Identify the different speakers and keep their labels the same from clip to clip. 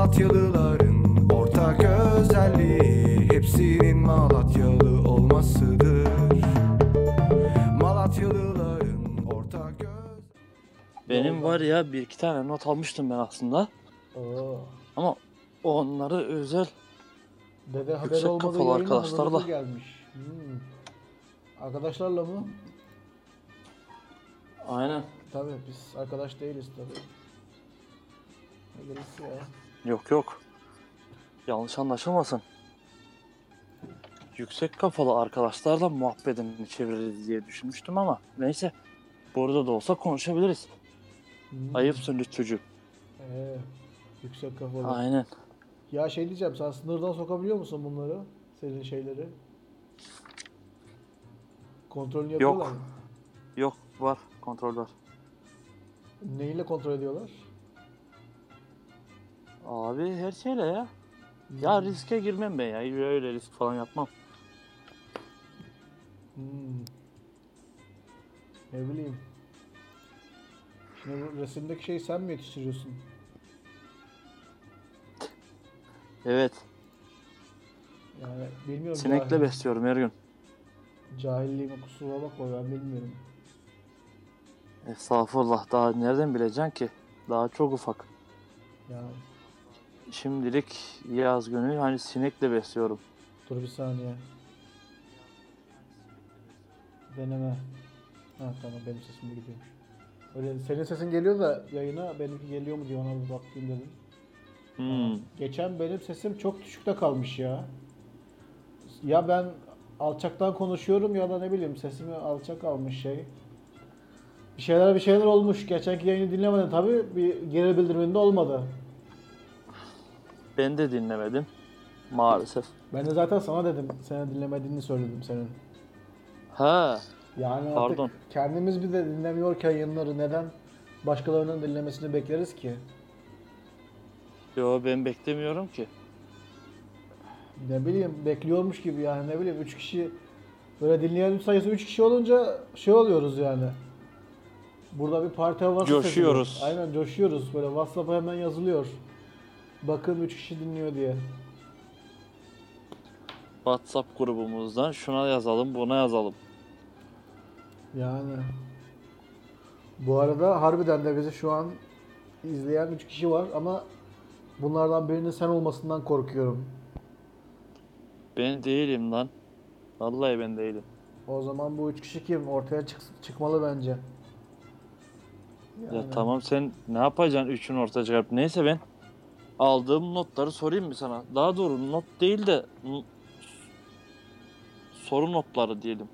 Speaker 1: Malatyalıların ortak özelliği Hepsinin Malatyalı olmasıdır Malatyalıların ortak özelliği
Speaker 2: Benim var ya bir iki tane not almıştım ben aslında.
Speaker 3: Oo.
Speaker 2: Ama onları özel
Speaker 3: Dede haber
Speaker 2: Yüksek
Speaker 3: olmadığı
Speaker 2: kafalı
Speaker 3: yayına
Speaker 2: arkadaşlarla.
Speaker 3: hazırlıklı gelmiş. Hmm. Arkadaşlarla mı?
Speaker 2: aynen
Speaker 3: Tabii biz arkadaş değiliz tabii. Ne gerisi ya?
Speaker 2: yok yok. Yanlış anlaşılmasın. Yüksek kafalı arkadaşlarla muhabbetini çeviririz diye düşünmüştüm ama neyse. Burada da olsa konuşabiliriz.
Speaker 3: Hmm.
Speaker 2: Ayıpsın lütfücüğüm.
Speaker 3: Ee, yüksek kafalı.
Speaker 2: Aynen.
Speaker 3: Ya şey diyeceğim sen sınırdan sokabiliyor musun bunları? Senin şeyleri. Kontrolünü yapıyorlar mı?
Speaker 2: Yok var kontrol var.
Speaker 3: Neyle kontrol ediyorlar?
Speaker 2: Abi her şeyle ya.
Speaker 3: Hmm.
Speaker 2: Ya riske girmem ben ya. Öyle risk falan yapmam.
Speaker 3: Hmm. Ne bileyim. Şimdi bu resimdeki şeyi sen mi yetiştiriyorsun?
Speaker 2: Evet.
Speaker 3: Yani bilmiyorum.
Speaker 2: Sinekle
Speaker 3: cahil-
Speaker 2: besliyorum her gün.
Speaker 3: Cahilliğime kusura bakma ben bilmiyorum.
Speaker 2: Estağfurullah. Daha nereden bileceksin ki? Daha çok ufak.
Speaker 3: Yani
Speaker 2: Şimdilik yaz günü hani sinekle besliyorum.
Speaker 3: dur bir saniye. Deneme. Ha tamam benim sesim de gidiyor. Öyle senin sesin geliyor da yayına benimki geliyor mu diye ona bir bakayım dedim.
Speaker 2: Hmm.
Speaker 3: Geçen benim sesim çok düşükte kalmış ya. Ya ben alçaktan konuşuyorum ya da ne bileyim sesimi alçak almış şey. Bir şeyler bir şeyler olmuş. Geçenki yayını dinlemedim tabii. Bir geri bildiriminde olmadı.
Speaker 2: Ben de dinlemedim. Maalesef.
Speaker 3: Ben de zaten sana dedim. Seni dinlemediğini söyledim senin.
Speaker 2: Ha.
Speaker 3: Yani
Speaker 2: Pardon.
Speaker 3: artık kendimiz bir de dinlemiyorken yayınları neden başkalarının dinlemesini bekleriz ki?
Speaker 2: Yo ben beklemiyorum ki.
Speaker 3: Ne bileyim bekliyormuş gibi yani ne bileyim 3 kişi böyle dinleyen sayısı 3 kişi olunca şey oluyoruz yani. Burada bir parti havası seziliyor.
Speaker 2: Coşuyoruz.
Speaker 3: Aynen coşuyoruz böyle WhatsApp'a hemen yazılıyor. Bakın 3 kişi dinliyor diye.
Speaker 2: WhatsApp grubumuzdan şuna yazalım, buna yazalım.
Speaker 3: Yani. Bu arada harbiden de bizi şu an izleyen 3 kişi var ama bunlardan birinin sen olmasından korkuyorum.
Speaker 2: Ben değilim lan. Vallahi ben değilim.
Speaker 3: O zaman bu üç kişi kim? Ortaya çık- çıkmalı bence.
Speaker 2: Ya
Speaker 3: Yani
Speaker 2: tamam sen ne yapacaksın üçün ortaya çıkarıp neyse ben aldığım notları sorayım mı sana? Daha doğru not değil de n- soru notları diyelim.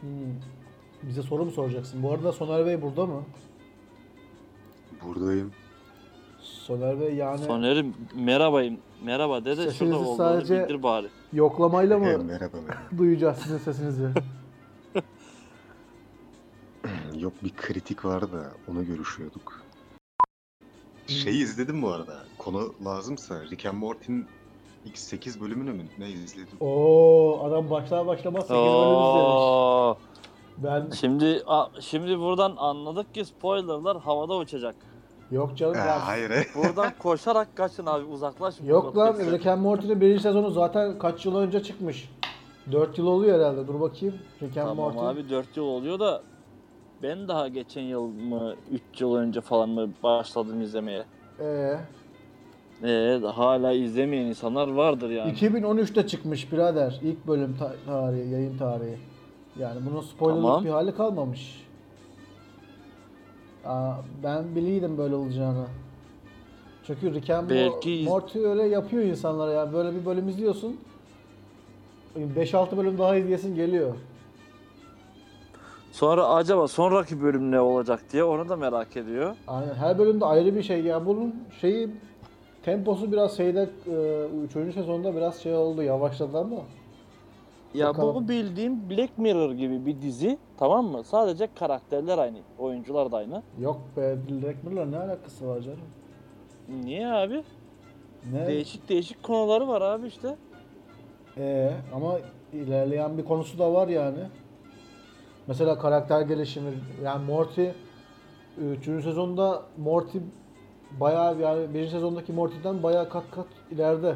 Speaker 3: Hmm. Bize soru mu soracaksın? Bu arada Soner Bey burada mı?
Speaker 4: Buradayım.
Speaker 3: Soner Bey yani
Speaker 2: Sonerim merhabayım. Merhaba dede
Speaker 3: Sesinizi
Speaker 2: şurada olduğunu
Speaker 3: sadece-
Speaker 2: bildir bari.
Speaker 3: yoklamayla
Speaker 4: Ee,
Speaker 3: mı
Speaker 4: merhaba merhaba.
Speaker 3: duyacağız sizin sesinizi?
Speaker 4: Yok bir kritik vardı da onu görüşüyorduk. Şeyi Şey izledim bu arada. Konu lazımsa Rick and Morty'nin X8 bölümünü mü ne izledim?
Speaker 3: Oo adam başlar başlamaz 8 bölüm izlemiş.
Speaker 2: Oo.
Speaker 3: Ben
Speaker 2: Şimdi a- şimdi buradan anladık ki spoilerlar havada uçacak.
Speaker 3: yok canım
Speaker 4: Ee,
Speaker 3: ben-
Speaker 4: hayır. he.
Speaker 2: Buradan koşarak kaçın abi uzaklaşın.
Speaker 3: Yok lan Rick and Morty'nin birinci sezonu zaten kaç yıl önce çıkmış. 4 yıl oluyor herhalde. Dur bakayım. Rick and
Speaker 2: Tamam
Speaker 3: Morty.
Speaker 2: abi 4 yıl oluyor da ben daha geçen yıl mı 3 yıl önce falan mı başladım izlemeye.
Speaker 3: Ee,
Speaker 2: Ee, hala izlemeyen insanlar vardır yani.
Speaker 3: 2013'te çıkmış birader ilk bölüm ta- tarihi, yayın tarihi. Yani bunun spoilerlık
Speaker 2: Tamam.
Speaker 3: bir hali kalmamış. Aa, ben biliydim böyle olacağını. Çünkü Rick and Mo-
Speaker 2: Belki iz-
Speaker 3: Morty öyle yapıyor insanlara ya. Böyle bir bölüm izliyorsun. 5-6 bölüm daha izleyesin geliyor.
Speaker 2: Sonra acaba sonraki bölüm ne olacak diye onu da merak ediyor.
Speaker 3: Aynen. Her bölümde ayrı bir şey. Ya bunun şeyi temposu biraz şeyde 3. sezonda biraz şey oldu yavaşladı ama.
Speaker 2: Ya
Speaker 3: Bakalım.
Speaker 2: bu bildiğim Black Mirror gibi bir dizi tamam mı? Sadece karakterler aynı, oyuncular da aynı.
Speaker 3: Yok be Black Mirror'la ne alakası var canım?
Speaker 2: Niye abi?
Speaker 3: Ne?
Speaker 2: Değişik değişik konuları var abi işte.
Speaker 3: Ee, ama ilerleyen bir konusu da var yani. Mesela karakter gelişimi. Yani Morty 3. sezonda Morty bayağı yani birinci sezondaki Morty'den bayağı kat kat ileride.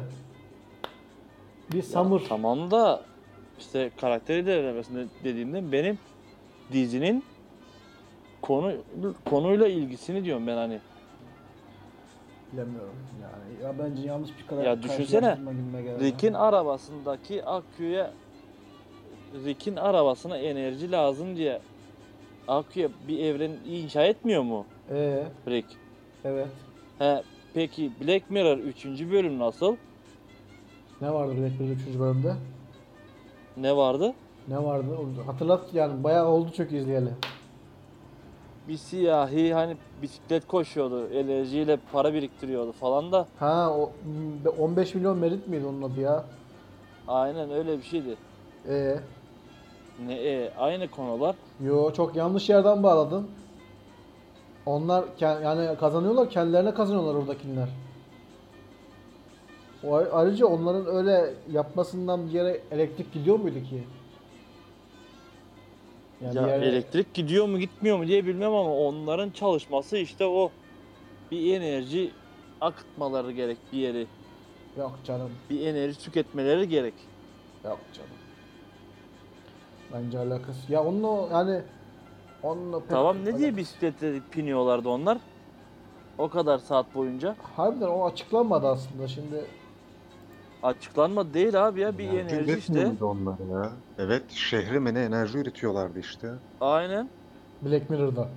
Speaker 3: Bir Summer.
Speaker 2: Tamam da işte karakteri derinlemesine dediğimde benim dizinin konu konuyla ilgisini diyorum ben hani.
Speaker 3: Bilemiyorum yani. Ya bence yanlış bir karar.
Speaker 2: Ya düşünsene,
Speaker 3: karşılaştırma gibime geldi.
Speaker 2: Rick'in arabasındaki Akü'ye Rick'in arabasına enerji lazım diye Akü'ye bir evren inşa etmiyor mu
Speaker 3: Ee,
Speaker 2: Rick?
Speaker 3: evet.
Speaker 2: He, peki Black Mirror 3. bölüm nasıl?
Speaker 3: Ne vardı Black Mirror 3. bölümde?
Speaker 2: Ne vardı?
Speaker 3: Ne vardı? Onu Hatırlat yani bayağı oldu çok izleyeli.
Speaker 2: Bir siyahi hani bisiklet koşuyordu, enerjiyle para biriktiriyordu falan da
Speaker 3: Ha o hmm, m- 15 milyon merit miydi onun adı ya?
Speaker 2: aynen öyle bir şeydi.
Speaker 3: Ee,
Speaker 2: Ne e, aynı konular.
Speaker 3: yo çok yanlış yerden bağladın. Onlar ke- yani kazanıyorlar kendilerine kazanıyorlar oradakiler. O ay- ayrıca onların öyle yapmasından bir yere elektrik gidiyor muydu ki? Yani
Speaker 2: ya
Speaker 3: bir yere-
Speaker 2: elektrik gidiyor mu gitmiyor mu diye bilmem ama onların çalışması işte o bir enerji akıtmaları gerek bir yeri.
Speaker 3: Yok canım,
Speaker 2: Bir enerji tüketmeleri gerek.
Speaker 3: yok canım. Bence alakası. Ya onunla o- yani onunla pek
Speaker 2: Tamam ne diye
Speaker 3: alakası-
Speaker 2: bisiklete biniyorlardı onlar? O kadar saat boyunca.
Speaker 3: Harbiden o açıklanmadı aslında şimdi.
Speaker 2: Açıklanma değil abi ya bir
Speaker 4: Ya,
Speaker 2: enerji
Speaker 4: üretmiyor
Speaker 2: işte.
Speaker 4: muydu onlar ya? Evet şehre mi ne enerji üretiyorlardı işte.
Speaker 2: Aynen.
Speaker 3: Black Mirror'da.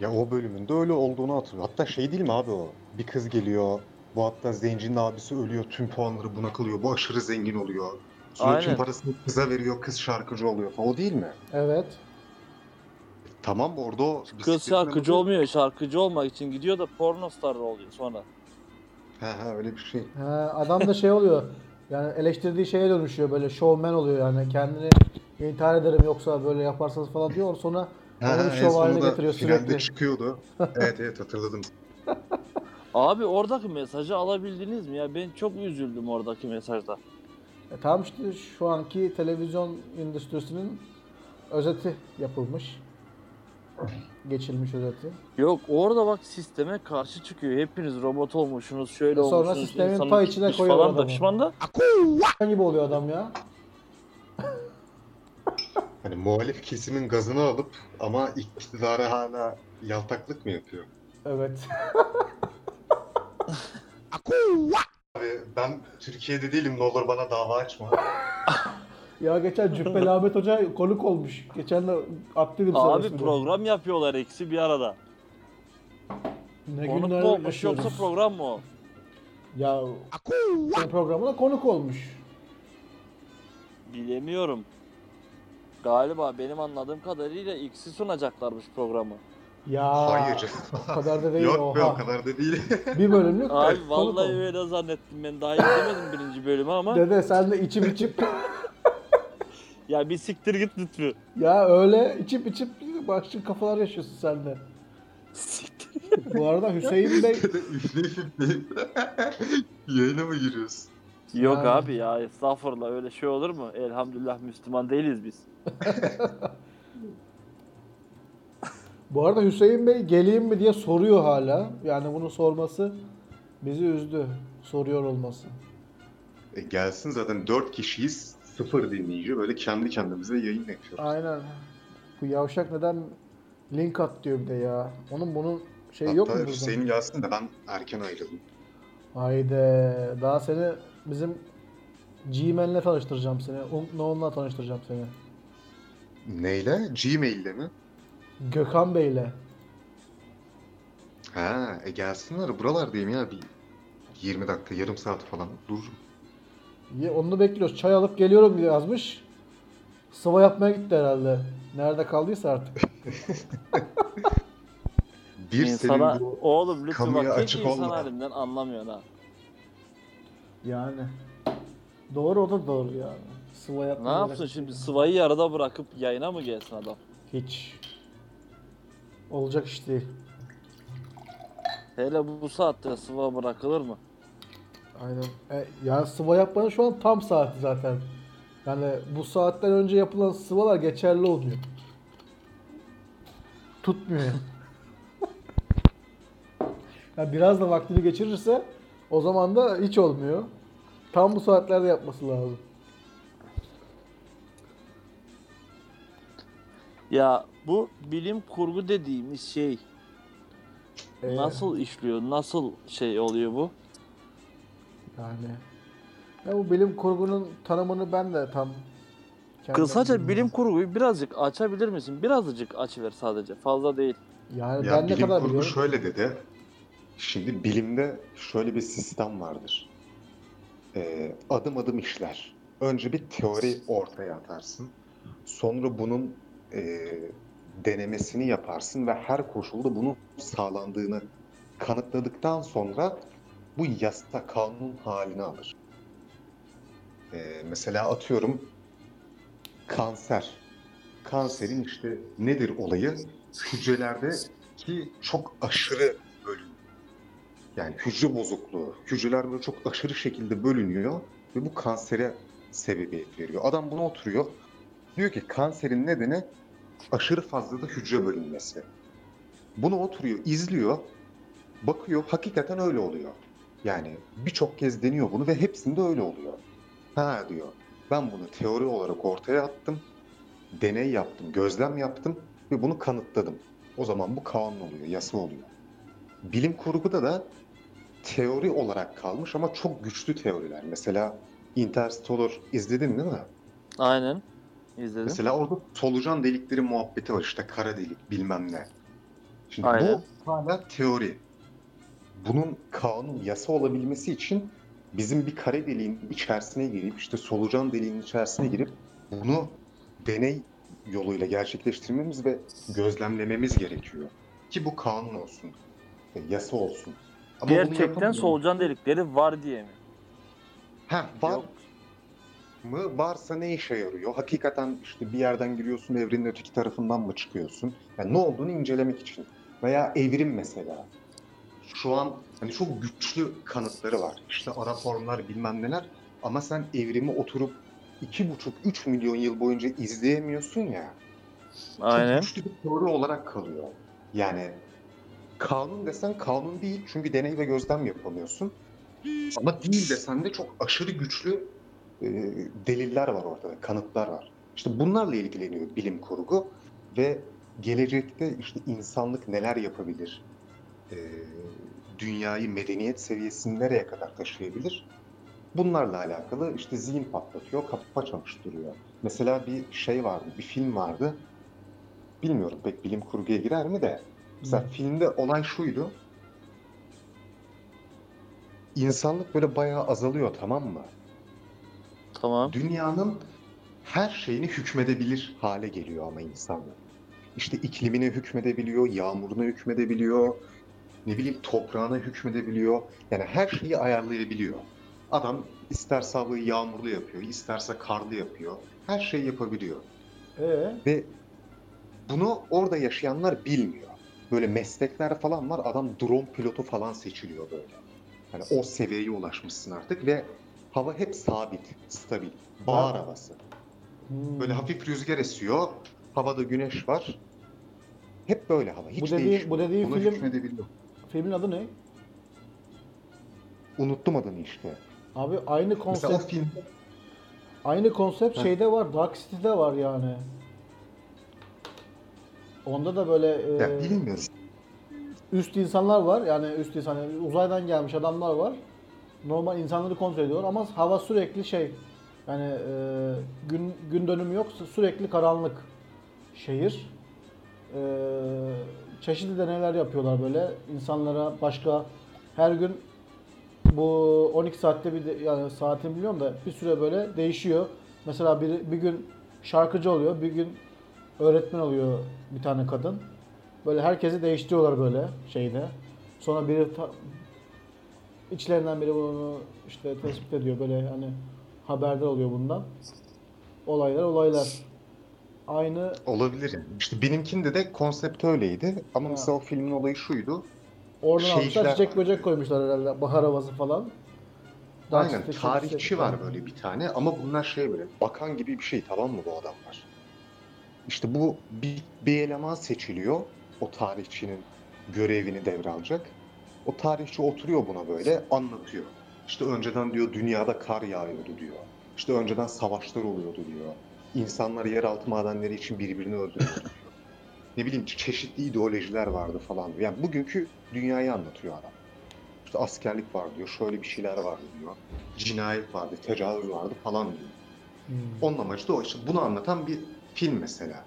Speaker 4: Ya o bölümünde öyle olduğunu hatırlıyorum. Hatta şey değil mi abi o? Bir kız geliyor. Bu hatta zencinin abisi ölüyor. Tüm puanları buna kalıyor. Bu aşırı zengin oluyor. Sonra
Speaker 2: Aynen.
Speaker 4: tüm parasını kıza veriyor. Kız şarkıcı oluyor falan. O değil mi?
Speaker 3: Evet.
Speaker 4: Tamam orada o
Speaker 2: Kız
Speaker 4: bisikletin
Speaker 2: şarkıcı
Speaker 4: arabası-
Speaker 2: olmuyor. Şarkıcı olmak için gidiyor da porno starı oluyor sonra.
Speaker 4: Ha, ha, öyle bir şey.
Speaker 3: Ha, adam da şey oluyor. Yani eleştirdiği şeye dönüşüyor böyle showman oluyor yani kendini intihar ederim yoksa böyle yaparsanız falan diyor sonra
Speaker 4: Ha,
Speaker 3: onu bir
Speaker 4: en
Speaker 3: şov haline
Speaker 4: sonunda
Speaker 3: getiriyor
Speaker 4: finalde
Speaker 3: sürekli.
Speaker 4: çıkıyordu. Evet evet hatırladım.
Speaker 2: Abi oradaki mesajı alabildiniz mi ya? Ben çok üzüldüm oradaki mesajda.
Speaker 3: E, tamam işte şu anki televizyon endüstrisinin özeti yapılmış. Geçilmiş özeti.
Speaker 2: Yok orada bak sisteme karşı çıkıyor. Hepiniz robot olmuşsunuz, şöyle
Speaker 3: E sonra
Speaker 2: olmuşsunuz.
Speaker 3: sistemin
Speaker 2: insanın
Speaker 3: pay içine
Speaker 2: gitmiş
Speaker 3: koyuyor
Speaker 2: falan
Speaker 3: adamı.
Speaker 2: dakışman da.
Speaker 3: Ne Şey gibi oluyor adam ya?
Speaker 4: Hani muhalif kesimin gazını alıp ama iktidara hala yaltaklık mı yapıyor?
Speaker 3: Evet.
Speaker 4: Abi ben Türkiye'de değilim ne olur bana dava açma.
Speaker 3: ya geçen Cübbeli Ahmet Hoca konuk olmuş. Geçen de attıydım sana
Speaker 2: Abi
Speaker 3: ismini.
Speaker 2: program yapıyorlar ikisi bir arada.
Speaker 3: Ne
Speaker 2: Konuk
Speaker 3: günler
Speaker 2: mu olmuş
Speaker 3: yaşıyoruz.
Speaker 2: yoksa program mı o?
Speaker 3: Ya senin programına konuk olmuş.
Speaker 2: Bilemiyorum. Galiba benim anladığım kadarıyla ikisi sunacaklarmış programı.
Speaker 3: Ya
Speaker 4: Hayır.
Speaker 3: o kadar da değil
Speaker 4: Yok
Speaker 3: oha.
Speaker 4: be o kadar da değil.
Speaker 3: Bir bölümlük
Speaker 2: Abi
Speaker 3: konuk
Speaker 2: vallahi
Speaker 3: olmuş.
Speaker 2: öyle zannettim ben daha izlemedim birinci bölümü ama
Speaker 3: Dede sen de içip içip
Speaker 2: ya bir siktir git lütfü.
Speaker 3: ya öyle içip içip başka kafalar yaşıyorsun sen de.
Speaker 2: Siktir.
Speaker 3: Bu arada Hüseyin Bey
Speaker 4: Üfle üfle. Yayına mı giriyorsun?
Speaker 2: Yok
Speaker 3: Yani.
Speaker 2: abi ya estağfurullah öyle şey olur mu? Elhamdülillah Müslüman değiliz biz.
Speaker 3: bu arada Hüseyin Bey geleyim mi diye soruyor hala. Yani bunu sorması bizi üzdü. Soruyor olması.
Speaker 4: E gelsin zaten 4 kişiyiz. Sıfır dinleyici böyle kendi kendimize yayın yapıyoruz.
Speaker 3: Aynen. Bu yavşak neden link at diyor bir de ya. Onun bunun şey
Speaker 4: Hatta
Speaker 3: yok mu burada?
Speaker 4: Hüseyin gelsin de ben erken ayrıldım.
Speaker 3: Haydi. Daha seni bizim G-Man'le tanıştıracağım seni. Unknown'la tanıştıracağım seni.
Speaker 4: Neyle? Gmail'le mi?
Speaker 3: Gökhan Bey'le.
Speaker 4: Ha, e gelsinler buralardayım ya bir 20 dakika yarım saat falan dururum.
Speaker 3: Ye- Onu bekliyoruz. Çay alıp geliyorum diye yazmış. Sıva yapmaya gitti herhalde. Nerede kaldıysa artık.
Speaker 4: Bir
Speaker 2: İnsana,
Speaker 4: senin bu
Speaker 2: oğlum lütfü
Speaker 4: kamuya
Speaker 2: bak hiç
Speaker 4: açık
Speaker 2: insan
Speaker 4: olma.
Speaker 2: halinden anlamıyorsun ha.
Speaker 3: Yani. Doğru o da doğru yani. Sıva
Speaker 2: Ne
Speaker 3: yapmaya
Speaker 2: yapsın
Speaker 3: bırak-
Speaker 2: şimdi sıvayı yarıda bırakıp yayına mı gelsin adam?
Speaker 3: Hiç. Olacak iş değil.
Speaker 2: Hele bu, bu saatte sıva bırakılır mı?
Speaker 3: Aynen. E, yani sıva yapmanın şu an tam saati zaten. Yani bu saatten önce yapılan sıvalar geçerli olmuyor. Tutmuyor. Yani biraz da vaktini geçirirse o zaman da hiç olmuyor. Tam bu saatlerde yapması lazım.
Speaker 2: Ya bu bilim kurgu dediğimiz şey
Speaker 3: Ee,
Speaker 2: nasıl işliyor? Nasıl şey oluyor bu?
Speaker 3: Yani. Ya bu bilim kurgunun tanımını ben de tam kendim
Speaker 2: Kısaca
Speaker 3: bilmiyorum.
Speaker 2: bilim kurguyu birazcık açabilir misin? Birazcık açıver sadece. Fazla değil.
Speaker 3: Yani
Speaker 4: Ya
Speaker 3: ben ne
Speaker 4: bilim
Speaker 3: kadar
Speaker 4: kurgu
Speaker 3: biliyorum?
Speaker 4: şöyle dedi. Şimdi bilimde şöyle bir sistem vardır. Ee, adım adım işler. Önce bir teori ortaya atarsın. Sonra bunun e, denemesini yaparsın ve her koşulda bunun sağlandığını kanıtladıktan sonra bu yasa kanun halini alır. Ee, mesela atıyorum kanser. Kanserin işte nedir olayı? Hücrelerde ki çok aşırı bölünüyor. Yani hücre bozukluğu, hücreler böyle çok aşırı şekilde bölünüyor ve bu kansere sebebiyet veriyor. Adam buna oturuyor. Diyor ki kanserin nedeni aşırı fazla da hücre bölünmesi. Bunu oturuyor, izliyor, bakıyor hakikaten öyle oluyor. Yani birçok kez deniyor bunu ve hepsinde öyle oluyor. Ha diyor. Ben bunu teori olarak ortaya attım. Deney yaptım, gözlem yaptım ve bunu kanıtladım. O zaman bu kanun oluyor, yasa oluyor. Bilim kurguda da teori olarak kalmış ama çok güçlü teoriler. Mesela Interstellar izledin değil mi?
Speaker 2: Aynen. İzledim.
Speaker 4: Mesela orada solucan delikleri muhabbeti var işte kara delik bilmem ne. Şimdi
Speaker 2: Aynen.
Speaker 4: bu hala teori. Bunun kanun, yasa olabilmesi için bizim bir kare deliğin içerisine girip işte solucan deliğin içerisine girip bunu deney yoluyla gerçekleştirmemiz ve gözlemlememiz gerekiyor. Ki bu kanun olsun, e, yasa olsun. Ama bunu
Speaker 2: Gerçekten
Speaker 4: yapamıyoruz.
Speaker 2: solucan delikleri var diye mi?
Speaker 4: Heh, var
Speaker 2: Yok.
Speaker 4: mı? Varsa ne işe yarıyor? Hakikaten işte bir yerden giriyorsun, evrenin öteki tarafından mı çıkıyorsun? Yani ne olduğunu incelemek için. Veya evrim mesela. Şu an hani çok güçlü kanıtları var. İşte ara formlar bilmem neler. Ama sen evrimi oturup 2,5-3 milyon yıl boyunca izleyemiyorsun ya.
Speaker 2: Aynen.
Speaker 4: Çok güçlü bir teori olarak kalıyor. Yani kanun desen kanun değil çünkü deney ve gözlem yapamıyorsun. Ama değil desen de çok aşırı güçlü e, deliller var ortada, kanıtlar var. İşte bunlarla ilgileniyor bilim kurgu ve gelecekte işte insanlık neler yapabilir, e, dünyayı medeniyet seviyesini nereye kadar taşıyabilir? Bunlarla alakalı işte zihin patlatıyor, kafa çalıştırıyor. Mesela bir şey vardı, bir film vardı. Bilmiyorum pek bilim kurguya girer mi de. Mesela filmde olay şuydu. İnsanlık böyle bayağı azalıyor tamam mı?
Speaker 2: Tamam.
Speaker 4: Dünyanın her şeyini hükmedebilir hale geliyor ama insanlar. İşte iklimine hükmedebiliyor, yağmuruna hükmedebiliyor, ne bileyim toprağına hükmedebiliyor. Yani her şeyi ayarlayabiliyor. Adam isterse havayı yağmurlu yapıyor, isterse karlı yapıyor. Her şeyi yapabiliyor.
Speaker 3: Ee,
Speaker 4: Ve bunu orada yaşayanlar bilmiyor. Böyle meslekler falan var. Adam drone pilotu falan seçiliyor böyle. Yani o seviyeye ulaşmışsın artık ve hava hep sabit, stabil. Bahar havası.
Speaker 3: hmm.
Speaker 4: Böyle hafif rüzgar esiyor. Havada güneş var. Hep böyle hava. Hiç
Speaker 3: Bu dediği-
Speaker 4: değişmiyor.
Speaker 3: bu dediği
Speaker 4: Buna
Speaker 3: film-
Speaker 4: hükmedebiliyor.
Speaker 3: Filmin adı ne?
Speaker 4: Unuttum adını işte.
Speaker 3: Abi aynı konsept
Speaker 4: Mesela o filmde
Speaker 3: aynı konsept
Speaker 4: Heh.
Speaker 3: şeyde var. Dark City'de var yani. Onda da böyle e,
Speaker 4: ya bilmiyoruz.
Speaker 3: üst insanlar var. Yani üst insan yani uzaydan gelmiş adamlar var. Normal insanları kontrol ediyorlar ama hava sürekli şey yani e, gün gün dönümü yok sürekli karanlık şehir. E, çeşitli deneyler yapıyorlar böyle insanlara başka her gün bu 12 saatte bir de- yani saatini biliyorum da bir süre böyle değişiyor. Mesela bir, bir gün şarkıcı oluyor, bir gün öğretmen oluyor bir tane kadın. Böyle herkesi değiştiriyorlar böyle şeyde. Sonra biri ta- içlerinden biri bunu işte tespit ediyor böyle hani haberdar oluyor bundan. Olaylar olaylar. Aynı
Speaker 4: Olabilir. yani. İşte benimkinde de konsept öyleydi. Ama
Speaker 3: Ha.
Speaker 4: mesela o filmin olayı şuydu.
Speaker 3: oradan
Speaker 4: Şeyciler
Speaker 3: almışlar çiçek
Speaker 4: var.
Speaker 3: böcek koymuşlar herhalde bahar havası falan. Dark
Speaker 4: Aynen
Speaker 3: City,
Speaker 4: tarihçi
Speaker 3: City.
Speaker 4: var böyle bir tane ama bunlar şey böyle bakan gibi bir şey tamam mı bu adamlar? İşte bu bir, bir eleman seçiliyor o tarihçinin görevini devralacak. O tarihçi oturuyor buna böyle anlatıyor. İşte önceden diyor dünyada kar yağıyordu diyor. İşte önceden savaşlar oluyordu diyor. İnsanlar yeraltı madenleri için birbirini öldürüyordu diyor. Ne bileyim çeşitli ideolojiler vardı falan diyor. Yani bugünkü dünyayı anlatıyor adam. İşte askerlik var diyor, şöyle bir şeyler vardı diyor. Cinayet vardı, tecavüz vardı falan diyor.
Speaker 3: Hmm.
Speaker 4: Onun amacı da o işte bunu anlatan bir film mesela.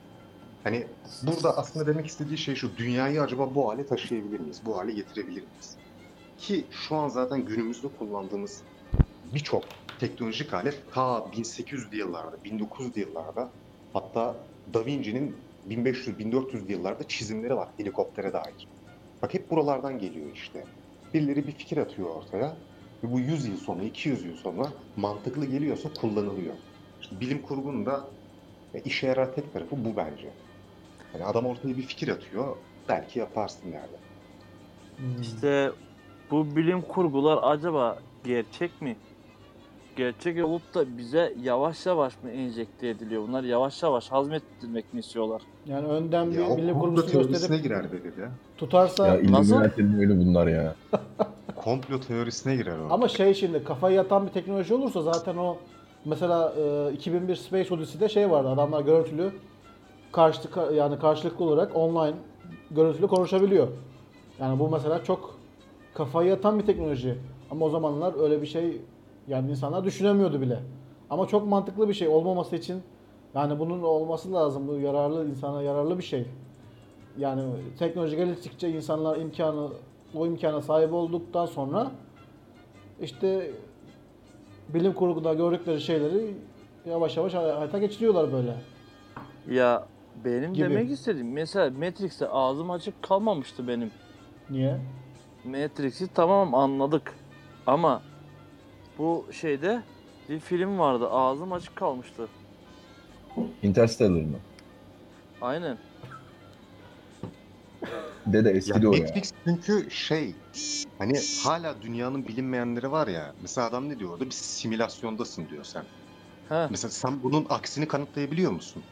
Speaker 4: Hani burada aslında demek istediği şey şu, dünyayı acaba bu hale taşıyabilir miyiz, bu hale getirebilir miyiz? Ki şu an zaten günümüzde kullandığımız birçok teknolojik alet ta 1800'lü yıllarda, 1900'lü yıllarda hatta Da Vinci'nin 1500-1400'lü yıllarda çizimleri var helikoptere dair. Bak hep buralardan geliyor işte. Birileri bir fikir atıyor ortaya ve bu 100 yıl sonra, 200 yıl sonra mantıklı geliyorsa kullanılıyor. İşte bilim kurgunun da e, işe yarar tek tarafı bu bence. Yani adam ortaya bir fikir atıyor, belki yaparsın derdi.
Speaker 3: Hmm.
Speaker 2: İşte bu bilim kurgular acaba gerçek mi? Gerçek olup da bize yavaş yavaş mı enjekte ediliyor? Bunlar yavaş yavaş hazmettirmek mi istiyorlar?
Speaker 3: Yani önden
Speaker 4: Ya
Speaker 3: bir
Speaker 4: o
Speaker 3: bilim
Speaker 4: komplo
Speaker 3: kurgusu
Speaker 4: teorisine
Speaker 3: gösterip
Speaker 4: girer be dedi.
Speaker 3: tutarsa
Speaker 5: Ya
Speaker 2: Nasıl?
Speaker 5: İlluminati'nin oyunu bunlar ya.
Speaker 4: Komplo teorisine girer o.
Speaker 3: Ama şey şimdi kafayı yatan bir teknoloji olursa zaten o mesela e, 2001 Space Odyssey'de şey vardı adamlar görüntülü karşılık yani karşılıklı olarak online görüntülü konuşabiliyor. Yani bu mesela çok kafayı yatan bir teknoloji. Ama o zamanlar öyle bir şey yani insanlar düşünemiyordu bile. Ama çok mantıklı bir şey olmaması için yani bunun olması lazım. Bu yararlı insana yararlı bir şey. Yani teknoloji geliştikçe insanlar imkanı o imkana sahip olduktan sonra işte bilim kurguda gördükleri şeyleri yavaş yavaş hayata geçiriyorlar böyle.
Speaker 2: Ya benim
Speaker 3: Gibi.
Speaker 2: demek istediğim mesela Matrix'e ağzım açık kalmamıştı benim.
Speaker 3: Niye?
Speaker 2: Matrix'i tamam anladık. Ama bu şeyde bir film vardı. Ağzım açık kalmıştı.
Speaker 5: Interstellar mı?
Speaker 2: Aynen.
Speaker 5: Dede
Speaker 4: Ya
Speaker 5: eskidi o ya.
Speaker 4: Netflix çünkü şey hani hala dünyanın bilinmeyenleri var ya mesela adam ne diyor orada bir simülasyondasın diyor sen.
Speaker 2: Ha.
Speaker 4: Mesela sen bunun aksini kanıtlayabiliyor musun?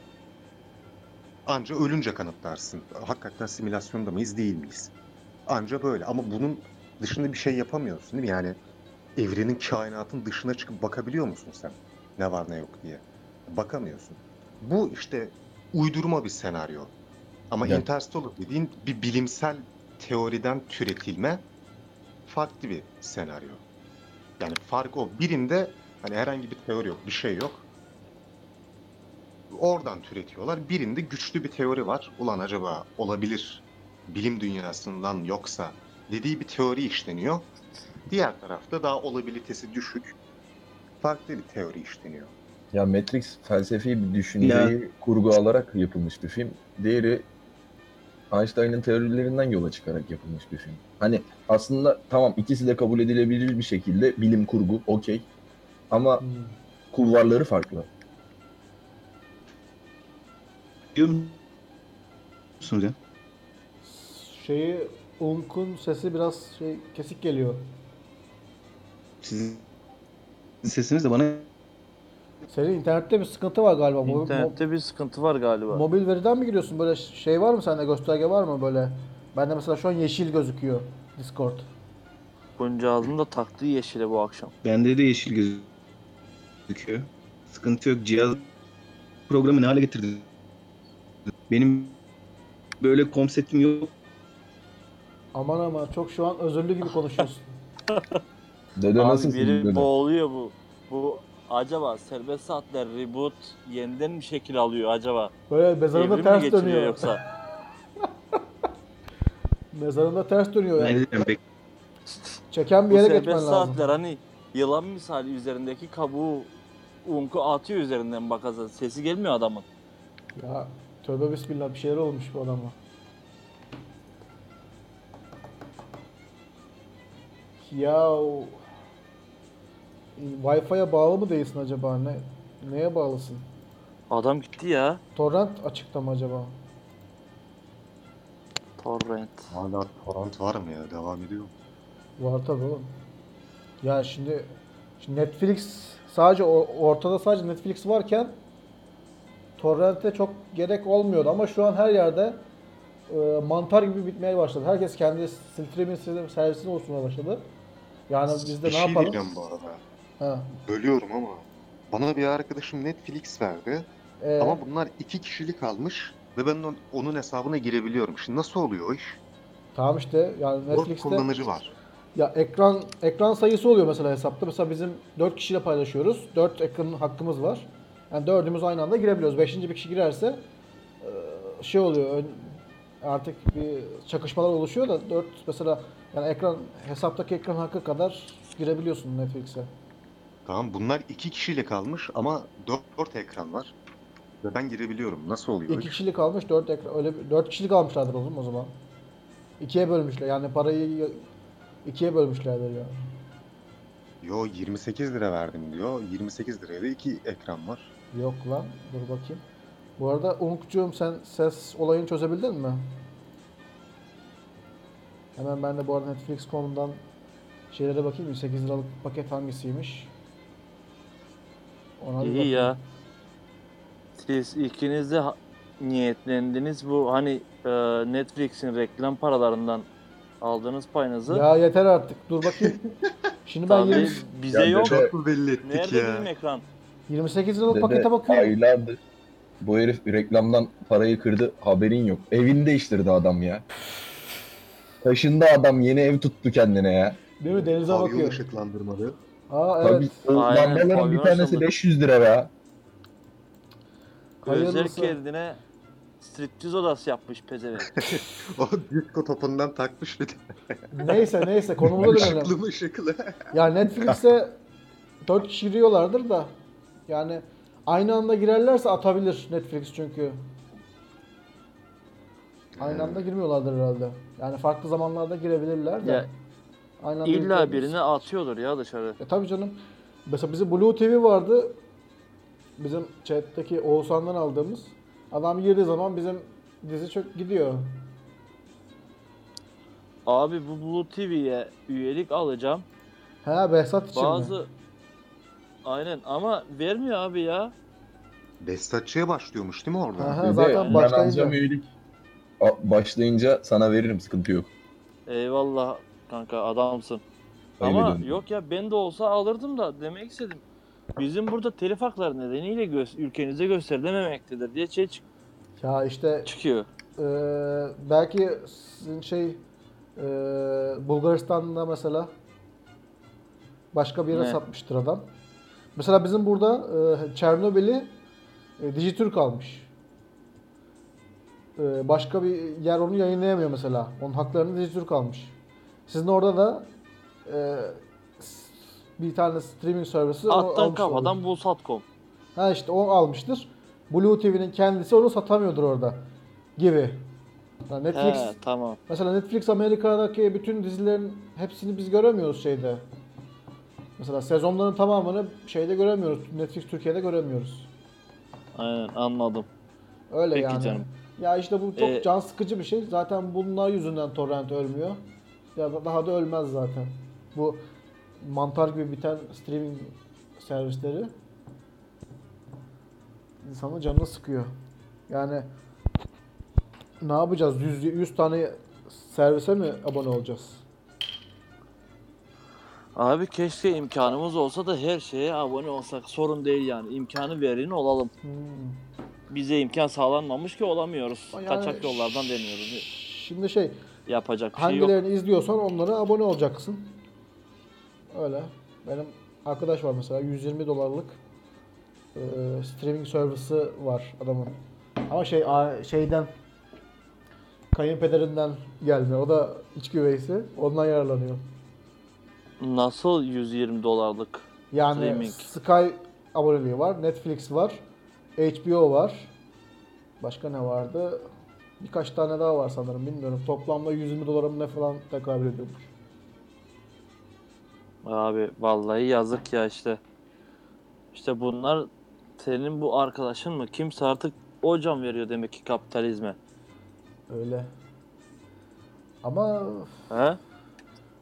Speaker 4: Anca ölünce kanıtlarsın. Hakikaten simülasyonda mıyız değil miyiz? Anca böyle ama bunun dışında bir şey yapamıyorsun değil mi? Yani evrenin kainatın dışına çıkıp bakabiliyor musun sen? Ne var ne yok diye. Bakamıyorsun. Bu işte uydurma bir senaryo. Ama
Speaker 5: Ya-
Speaker 4: Interstellar dediğin bir bilimsel teoriden türetilme farklı bir senaryo. Yani fark o. Birinde hani herhangi bir teori yok, bir şey yok. Oradan türetiyorlar. Birinde güçlü bir teori var. Ulan acaba olabilir bilim dünyasından yoksa dediği bir teori işleniyor. Diğer tarafta daha olabilitesi düşük. Farklı bir teori işleniyor.
Speaker 5: Ya Matrix felsefi bir düşünceyi kurgu alarak yapılmış bir film. Diğeri Einstein'ın teorilerinden yola çıkarak yapılmış bir film. Hani aslında tamam ikisi de kabul edilebilir bir şekilde bilim kurgu okey. Ama
Speaker 3: Hmm.
Speaker 5: kulvarları farklı.
Speaker 6: Diyor musunuz ya?
Speaker 3: Şeyi Unk'un sesi biraz şey kesik geliyor.
Speaker 6: Sizin sesiniz de bana
Speaker 3: Senin internette bir sıkıntı var galiba. Mo- mo-
Speaker 2: İnternette bir sıkıntı var galiba.
Speaker 3: mobil veriden mi giriyorsun? Böyle ş- şey var mı sende? Gösterge var mı böyle? Bende mesela şu an yeşil gözüküyor Discord.
Speaker 2: Boncağızın da taktığı yeşile bu akşam.
Speaker 6: bende de yeşil gözüküyor. Sıkıntı yok. Cihaz programı ne hale getirdi? Benim böyle kom setim yok.
Speaker 3: Aman ama çok şu an özürlü gibi konuşuyorsun.
Speaker 5: Dede
Speaker 2: Abi
Speaker 5: nasılsın
Speaker 2: biri
Speaker 5: dede?
Speaker 2: boğuluyor bu. Bu acaba serbest saatler reboot yeniden mi şekil alıyor acaba?
Speaker 3: Böyle
Speaker 2: Devrim
Speaker 3: mezarında
Speaker 2: mi
Speaker 3: ters
Speaker 2: geçiriyor
Speaker 3: dönüyor.
Speaker 2: yoksa?
Speaker 3: Mezarında ters dönüyor yani.
Speaker 6: Ne diyeyim,
Speaker 3: Çeken
Speaker 2: Bu
Speaker 3: bir yere
Speaker 2: serbest
Speaker 3: geçmen lazım.
Speaker 2: saatler hani yılan misali üzerindeki kabuğu unku atıyor üzerinden bakasa sesi gelmiyor adamın.
Speaker 3: Ya tövbe bismillah bir şeyler olmuş bu adama. Ya Wi-Fi'ye bağlı mı değilsin acaba? Ne, neye bağlısın?
Speaker 2: Adam gitti ya.
Speaker 3: Torrent açıkta mı acaba?
Speaker 2: Torrent.
Speaker 4: Hala torrent var mı ya? Devam ediyor mu?
Speaker 3: Var tabii oğlum. Ya şimdi, şimdi Netflix sadece o- ortada sadece Netflix varken torrente çok gerek olmuyordu ama şu an her yerde e, mantar gibi bitmeye başladı. Herkes kendi streaming servisine oluşturmaya başladı. Yani biz de
Speaker 4: bir
Speaker 3: ne
Speaker 4: şey
Speaker 3: yapalım?
Speaker 4: diyeceğim bu arada.
Speaker 3: Ha,
Speaker 4: Bölüyorum ama. Bana bir arkadaşım Netflix verdi.
Speaker 3: e,
Speaker 4: Ama bunlar iki kişilik almış. Ve ben on- onun hesabına girebiliyorum. Şimdi nasıl oluyor o iş?
Speaker 3: Tamam işte yani
Speaker 4: Orada
Speaker 3: Netflix'te
Speaker 4: kullanıcı var.
Speaker 3: ya ekran ekran sayısı oluyor mesela hesapta. Mesela bizim 4 kişiyle paylaşıyoruz. 4 ekranın hakkımız var. Yani dördümüz aynı anda girebiliyoruz. Beşinci bir kişi girerse e, şey oluyor. ön- Artık bir çakışmalar oluşuyor da 4 mesela yani ekran hesaptaki ekran hakkı kadar girebiliyorsun Netflix'e.
Speaker 4: Tamam bunlar iki kişilik almış ama dört, dört ekran var. Ve ben girebiliyorum. Nasıl oluyor? o
Speaker 3: 2
Speaker 4: iş?
Speaker 3: kişilik almış 4 ekran öyle 4 kişilik almışlardır oğlum o zaman. İkiye bölmüşler. Yani parayı ikiye bölmüşlerdir yani.
Speaker 4: Yo 28 lira verdim diyor. 28 liraya da iki ekran var.
Speaker 3: Yok lan dur bakayım. Bu arada Umuk'cuğum sen ses olayını çözebildin mi? Hemen ben de bu arada Netflix.com'dan şeylere bakayım 8 liralık paket hangisiymiş? Ona bir
Speaker 2: İyi
Speaker 3: bakayım.
Speaker 2: ya. Siz ikiniz de ha- niyetlendiniz bu hani e, Netflix'in reklam paralarından aldığınız payınızı.
Speaker 3: Ya yeter artık dur bakayım. Şimdi ben
Speaker 2: Tabii
Speaker 3: 20
Speaker 2: bize
Speaker 5: Ya
Speaker 2: yok.
Speaker 5: dede-
Speaker 4: Çok mu belli ettik
Speaker 2: Nerede
Speaker 4: ya?
Speaker 2: benim ekran?
Speaker 3: 28 liralık
Speaker 5: Dede
Speaker 3: pakete bakıyorum.
Speaker 5: Aylardır bu herif reklamdan parayı kırdı haberin yok. Evini değiştirdi adam ya. Taşındı adam yeni ev tuttu kendine ya.
Speaker 3: Değil mi denize
Speaker 4: Pavyon
Speaker 3: bakıyorum.
Speaker 4: ışıklandırmalı.
Speaker 3: Aa evet.
Speaker 5: Tabii o
Speaker 2: Aynen,
Speaker 5: lambaların bir
Speaker 2: pavyon
Speaker 5: tanesi
Speaker 2: açıldı.
Speaker 5: 500 lira ya.
Speaker 2: Özel
Speaker 3: Hayırlısı.
Speaker 2: kendine striptiz odası yapmış pezevenk.
Speaker 4: O disco topundan takmış bir de.
Speaker 3: Neyse neyse konumuza dönelim.
Speaker 4: Işıklı mı ışıklı?
Speaker 3: Ya Netflix'e 4 kişi giriyorlardır da yani aynı anda girerlerse atabilir Netflix çünkü. Aynı anda girmiyorlardır herhalde. Yani farklı zamanlarda girebilirler de.
Speaker 2: Ya,
Speaker 3: aynı anda
Speaker 2: İlla
Speaker 3: girebiliriz.
Speaker 2: birini atıyordur ya dışarı.
Speaker 3: E tabii canım. Mesela bizim Blue TV vardı. Bizim chat'teki Oğuzhan'dan aldığımız. Adam girdiği zaman bizim dizi çok gidiyor.
Speaker 2: Abi bu Blue TV'ye üyelik alacağım.
Speaker 3: He Behzat için mi?
Speaker 2: Bazı Aynen ama vermiyor abi ya.
Speaker 4: Behzatçı'ya başlıyormuş değil mi orada?
Speaker 3: Aha. Ha,
Speaker 5: Dede,
Speaker 3: zaten
Speaker 5: ben
Speaker 3: başlayınca.
Speaker 5: alacağım üyelik. A- Başlayınca sana veririm sıkıntı yok.
Speaker 2: Eyvallah kanka adamsın.
Speaker 5: Öyle
Speaker 2: Ama
Speaker 5: diyorum.
Speaker 2: yok ya ben de olsa alırdım da demek istedim. Bizim burada telif hakları nedeniyle gö- ülkenize gösterilememektedir diye şey çık-
Speaker 3: Ya işte
Speaker 2: çıkıyor.
Speaker 3: Ee, belki sizin şey e, Bulgaristan'da mesela başka bir yere
Speaker 2: Ne?
Speaker 3: satmıştır adam. Mesela bizim burada e, Çernobil'i e, Dijitürk almış. E, başka bir yer onu yayınlayamıyor mesela. Onun haklarını Dijitürk almış. Sizin orada da e, s- bir tane streaming servisi onu
Speaker 2: Attan
Speaker 3: almış olabilir.
Speaker 2: kafadan bulsat.com.
Speaker 3: Ha işte o almıştır. Blue TV'nin kendisi onu satamıyordur orada. Gibi. Yani Netflix
Speaker 2: He tamam.
Speaker 3: mesela Netflix Amerika'daki bütün dizilerin hepsini biz göremiyoruz şeyde. Mesela sezonların tamamını şeyde göremiyoruz. Netflix Türkiye'de göremiyoruz.
Speaker 2: Aynen anladım.
Speaker 3: Öyle
Speaker 2: Peki
Speaker 3: yani.
Speaker 2: canım.
Speaker 3: Ya işte bu çok
Speaker 2: Ee,
Speaker 3: can sıkıcı bir şey. Zaten bunlar yüzünden torrent ölmüyor. Ya da daha da ölmez zaten. Bu mantar gibi biten streaming servisleri insanın canını sıkıyor. Yani ne yapacağız? 100, 100 tane servise mi abone olacağız?
Speaker 2: Abi keşke imkanımız olsa da her şeye abone olsak sorun değil yani. İmkanı verin olalım.
Speaker 3: Hmm.
Speaker 2: Bize imkan sağlanmamış ki olamıyoruz.
Speaker 3: Yani
Speaker 2: Kaçak yollardan
Speaker 3: ş-
Speaker 2: deniyoruz.
Speaker 3: Şimdi şey,
Speaker 2: Yapacak bir şey yok.
Speaker 3: hangilerini izliyorsan onlara abone olacaksın. Öyle. Benim arkadaş var mesela 120 dolarlık e, streaming servisi var adamın. Ama şey a- şeyden kayınpederinden gelme. O da içki üveysi. Ondan yararlanıyor.
Speaker 2: Nasıl 120 dolarlık?
Speaker 3: Yani
Speaker 2: Streaming.
Speaker 3: Sky aboneliği var, Netflix var, HBO var. Başka ne vardı? Birkaç tane daha var sanırım bilmiyorum. Toplamda 120 dolara mı ne falan tekabül ediyormuş.
Speaker 2: Abi vallahi yazık ya işte. İşte bunlar senin bu arkadaşın mı? Kimse artık o can veriyor demek ki kapitalizme.
Speaker 3: Öyle. Ama
Speaker 2: He?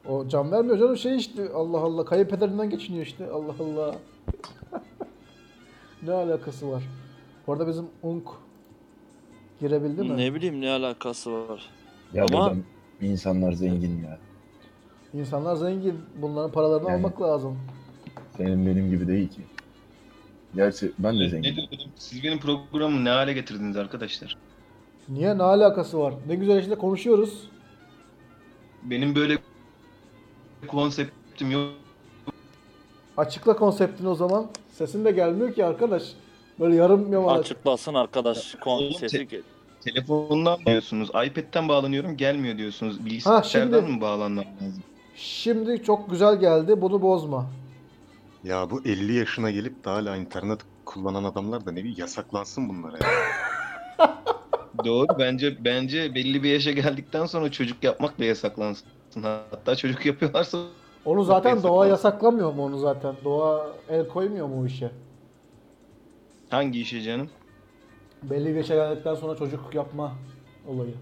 Speaker 3: o can vermiyor canım şey işte Allah Allah kayınpederinden geçiniyor işte Allah Allah. ne alakası var? Bu arada bizim Unk Girebildi mi?
Speaker 2: Ne bileyim ne alakası var.
Speaker 5: Ya
Speaker 2: Ama-
Speaker 5: adam insanlar zengin ya.
Speaker 3: İnsanlar zengin. Bunların paralarını
Speaker 5: Yani.
Speaker 3: almak lazım.
Speaker 5: Senin benim gibi değil ki. Gerçi ben de
Speaker 6: Ne
Speaker 5: zenginim.
Speaker 6: diyordum? Siz benim programı ne hale getirdiniz arkadaşlar?
Speaker 3: Niye? Ne alakası var? Ne güzel işte konuşuyoruz.
Speaker 6: Benim böyle konseptim yok.
Speaker 3: Açıkla konseptini o zaman. Sesin de gelmiyor ki arkadaş. Böyle yarım yamalak.
Speaker 2: Açıklasın arkadaş. Kon
Speaker 6: Oğlum,
Speaker 2: sesi gel-
Speaker 6: Telefondan diyorsunuz, iPad'den bağlanıyorum gelmiyor diyorsunuz. Bilgisayardan
Speaker 3: şimdi-
Speaker 6: mı bağlanmam lazım?
Speaker 3: Şimdi çok güzel geldi. Bunu bozma.
Speaker 4: Ya bu 50 yaşına gelip de hala internet kullanan adamlar da ne bileyim yasaklansın bunlara ya.
Speaker 6: Doğru. Bence bence belli bir yaşa geldikten sonra çocuk yapmak da yasaklansın. Hatta çocuk yapıyorlarsa
Speaker 3: Onu zaten
Speaker 6: Yasaklar.
Speaker 3: doğa yasaklamıyor mu onu zaten? Doğa el koymuyor mu o işe?
Speaker 6: hangi işe canım?
Speaker 3: Belli bir yaşa geldikten sonra çocuk yapma olayı.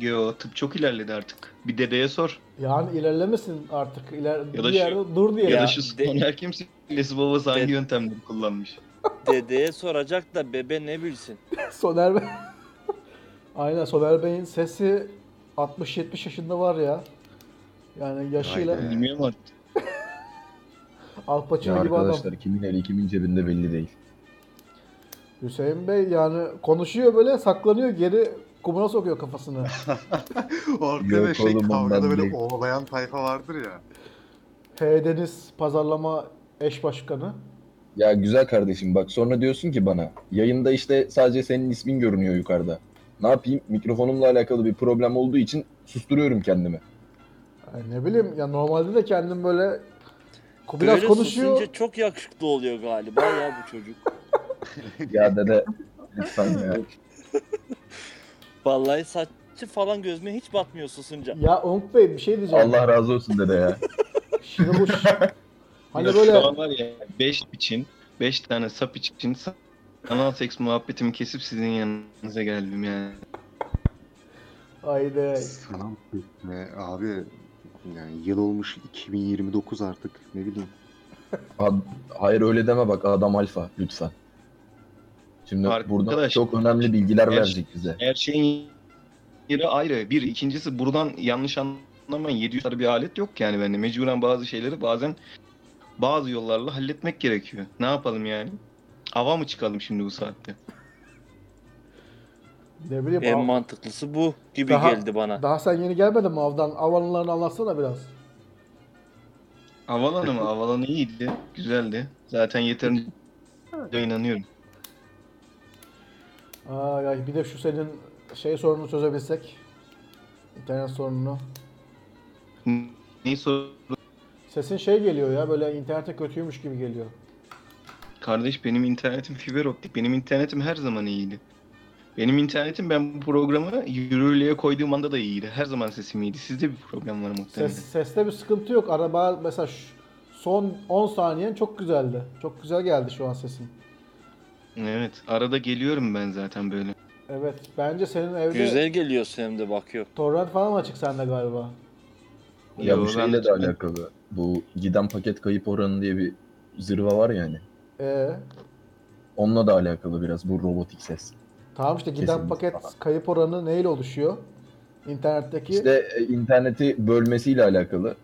Speaker 6: Yo tıp çok ilerledi artık. Bir dedeye sor.
Speaker 3: Yani ilerlemesin artık. İler,
Speaker 6: Ya
Speaker 3: bir
Speaker 6: da şu-
Speaker 3: yerde dur diye.
Speaker 6: Ya, da şey-
Speaker 2: Ya,
Speaker 6: şu
Speaker 2: de-
Speaker 6: Soner kimse ailesi babası hangi
Speaker 2: De-
Speaker 6: yöntemleri kullanmış.
Speaker 2: Dedeye soracak da bebe ne bilsin.
Speaker 3: Soner Bey. Aynen Soner Bey'in sesi 60-70 yaşında var ya. Yani yaşıyla
Speaker 4: Vay be.
Speaker 6: Bilmiyorum artık.
Speaker 3: Al
Speaker 5: Ya
Speaker 3: Pacino gibi adam.
Speaker 5: arkadaşlar kimin eli kimin cebinde belli değil.
Speaker 3: Hüseyin Bey yani konuşuyor böyle saklanıyor geri kumuna sokuyor kafasını.
Speaker 4: Orada
Speaker 5: Yok
Speaker 4: ve şey
Speaker 5: oğlum, ondan
Speaker 4: kavgada böyle
Speaker 5: değil.
Speaker 4: oğlayan tayfa vardır ya.
Speaker 3: H. Deniz pazarlama eş başkanı.
Speaker 5: Ya güzel kardeşim bak sonra diyorsun ki bana yayında işte sadece senin ismin görünüyor yukarıda. Ne yapayım mikrofonumla alakalı bir problem olduğu için susturuyorum kendimi.
Speaker 3: Yani ne bileyim ya normalde de kendim böyle biraz
Speaker 2: Böyle
Speaker 3: konuşuyor.
Speaker 2: susunca çok yakışıklı oluyor galiba ya bu çocuk.
Speaker 5: Ya dede lütfen ya.
Speaker 2: Vallahi saçı falan gözüme hiç batmıyor susunca.
Speaker 3: Ya Onk Bey bir şey diyeceğim.
Speaker 5: Allah razı olsun dede ya.
Speaker 3: Şimdi bu hani
Speaker 6: Ya
Speaker 3: böyle
Speaker 6: Şu an var ya 5 için 5 tane sap için sa- anal seks muhabbetimi kesip sizin yanınıza geldim yani.
Speaker 3: haydi
Speaker 4: Sanal ne Ee, abi yani yıl olmuş 2029 artık ne bileyim.
Speaker 5: Ad- Hayır öyle deme bak adam alfa lütfen. Şimdi
Speaker 6: Arkadaş-
Speaker 5: burada çok önemli bilgiler
Speaker 6: Gerçi-
Speaker 5: verecek bize.
Speaker 6: Her şeyin yeri ayrı. Bir ikincisi buradan yanlış anlamayın 700 tane bir alet yok yani bende. Mecburen bazı şeyleri bazen bazı yollarla halletmek gerekiyor. Ne yapalım yani? Ava mı çıkalım şimdi bu saatte?
Speaker 3: ne bileyim
Speaker 2: En
Speaker 3: av-
Speaker 2: mantıklısı bu gibi
Speaker 3: Daha-
Speaker 2: geldi bana.
Speaker 3: daha sen yeni gelmedin mi avdan? Av anılarını anlatsana biraz.
Speaker 6: Avalanı mı? Avalanı iyiydi. Güzeldi. Zaten yeterince inanıyorum.
Speaker 3: Aa, ya bir de şu senin şey sorununu çözebilsek. İnternet sorununu.
Speaker 6: Neyi sor
Speaker 3: Sesin şey geliyor ya böyle internete kötüymüş gibi geliyor.
Speaker 6: Kardeş benim internetim fiber optik. Benim internetim her zaman iyiydi. Benim internetim ben bu programı yürürlüğe koyduğum anda da iyiydi. Her zaman sesim iyiydi. Sizde bir problem var muhtemelen.
Speaker 3: Ses, seste bir sıkıntı yok. Araba mesela şu- son 10 saniyen çok güzeldi. Çok güzel geldi şu an sesin.
Speaker 6: Evet. Arada geliyorum ben zaten böyle.
Speaker 3: Evet bence senin evde
Speaker 2: Güzel geliyor hem de bakıyor.
Speaker 3: torrent falan açık sende galiba.
Speaker 5: Ya
Speaker 6: Yo,
Speaker 5: bu
Speaker 6: ben
Speaker 5: şeyle
Speaker 6: de-
Speaker 5: de alakalı. Bu giden paket kayıp oranı diye bir zırva var yani.
Speaker 3: Ee,
Speaker 5: Onunla da alakalı biraz bu robotik ses.
Speaker 3: tamam işte giden
Speaker 5: Kesinlikle
Speaker 3: paket
Speaker 5: falan.
Speaker 3: kayıp oranı neyle oluşuyor? İnternetteki.
Speaker 5: İşte e, interneti bölmesiyle alakalı.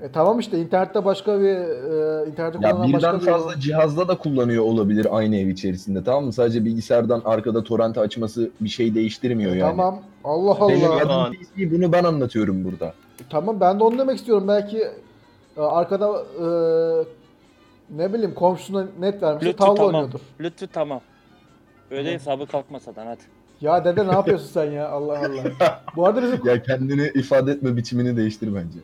Speaker 3: E, tamam işte internette başka bir e, internette
Speaker 5: Ya
Speaker 3: kullanan
Speaker 5: birden
Speaker 3: başka bir
Speaker 5: fazla cihazda da kullanıyor olabilir aynı ev içerisinde tamam mı? Sadece bilgisayardan arkada torrent açması bir şey değiştirmiyor yani.
Speaker 3: Tamam. Allah Allah.
Speaker 5: Benim
Speaker 6: Allah.
Speaker 5: verdiğim tespih bunu ben anlatıyorum burada.
Speaker 3: Tamam ben de onu demek istiyorum. Belki e, arkada e, ne bileyim komşusuna net vermiş.
Speaker 2: Bluetooth
Speaker 3: Tavla
Speaker 2: tamam.
Speaker 3: oynuyordur.
Speaker 2: Lütfü tamam. Öyle hesabı kalkmasadan hadi.
Speaker 3: Ya dede ne yapıyorsun sen ya? Allah Allah. Bu arada bizim
Speaker 5: Ya kendini ifade etme biçimini değiştir bence.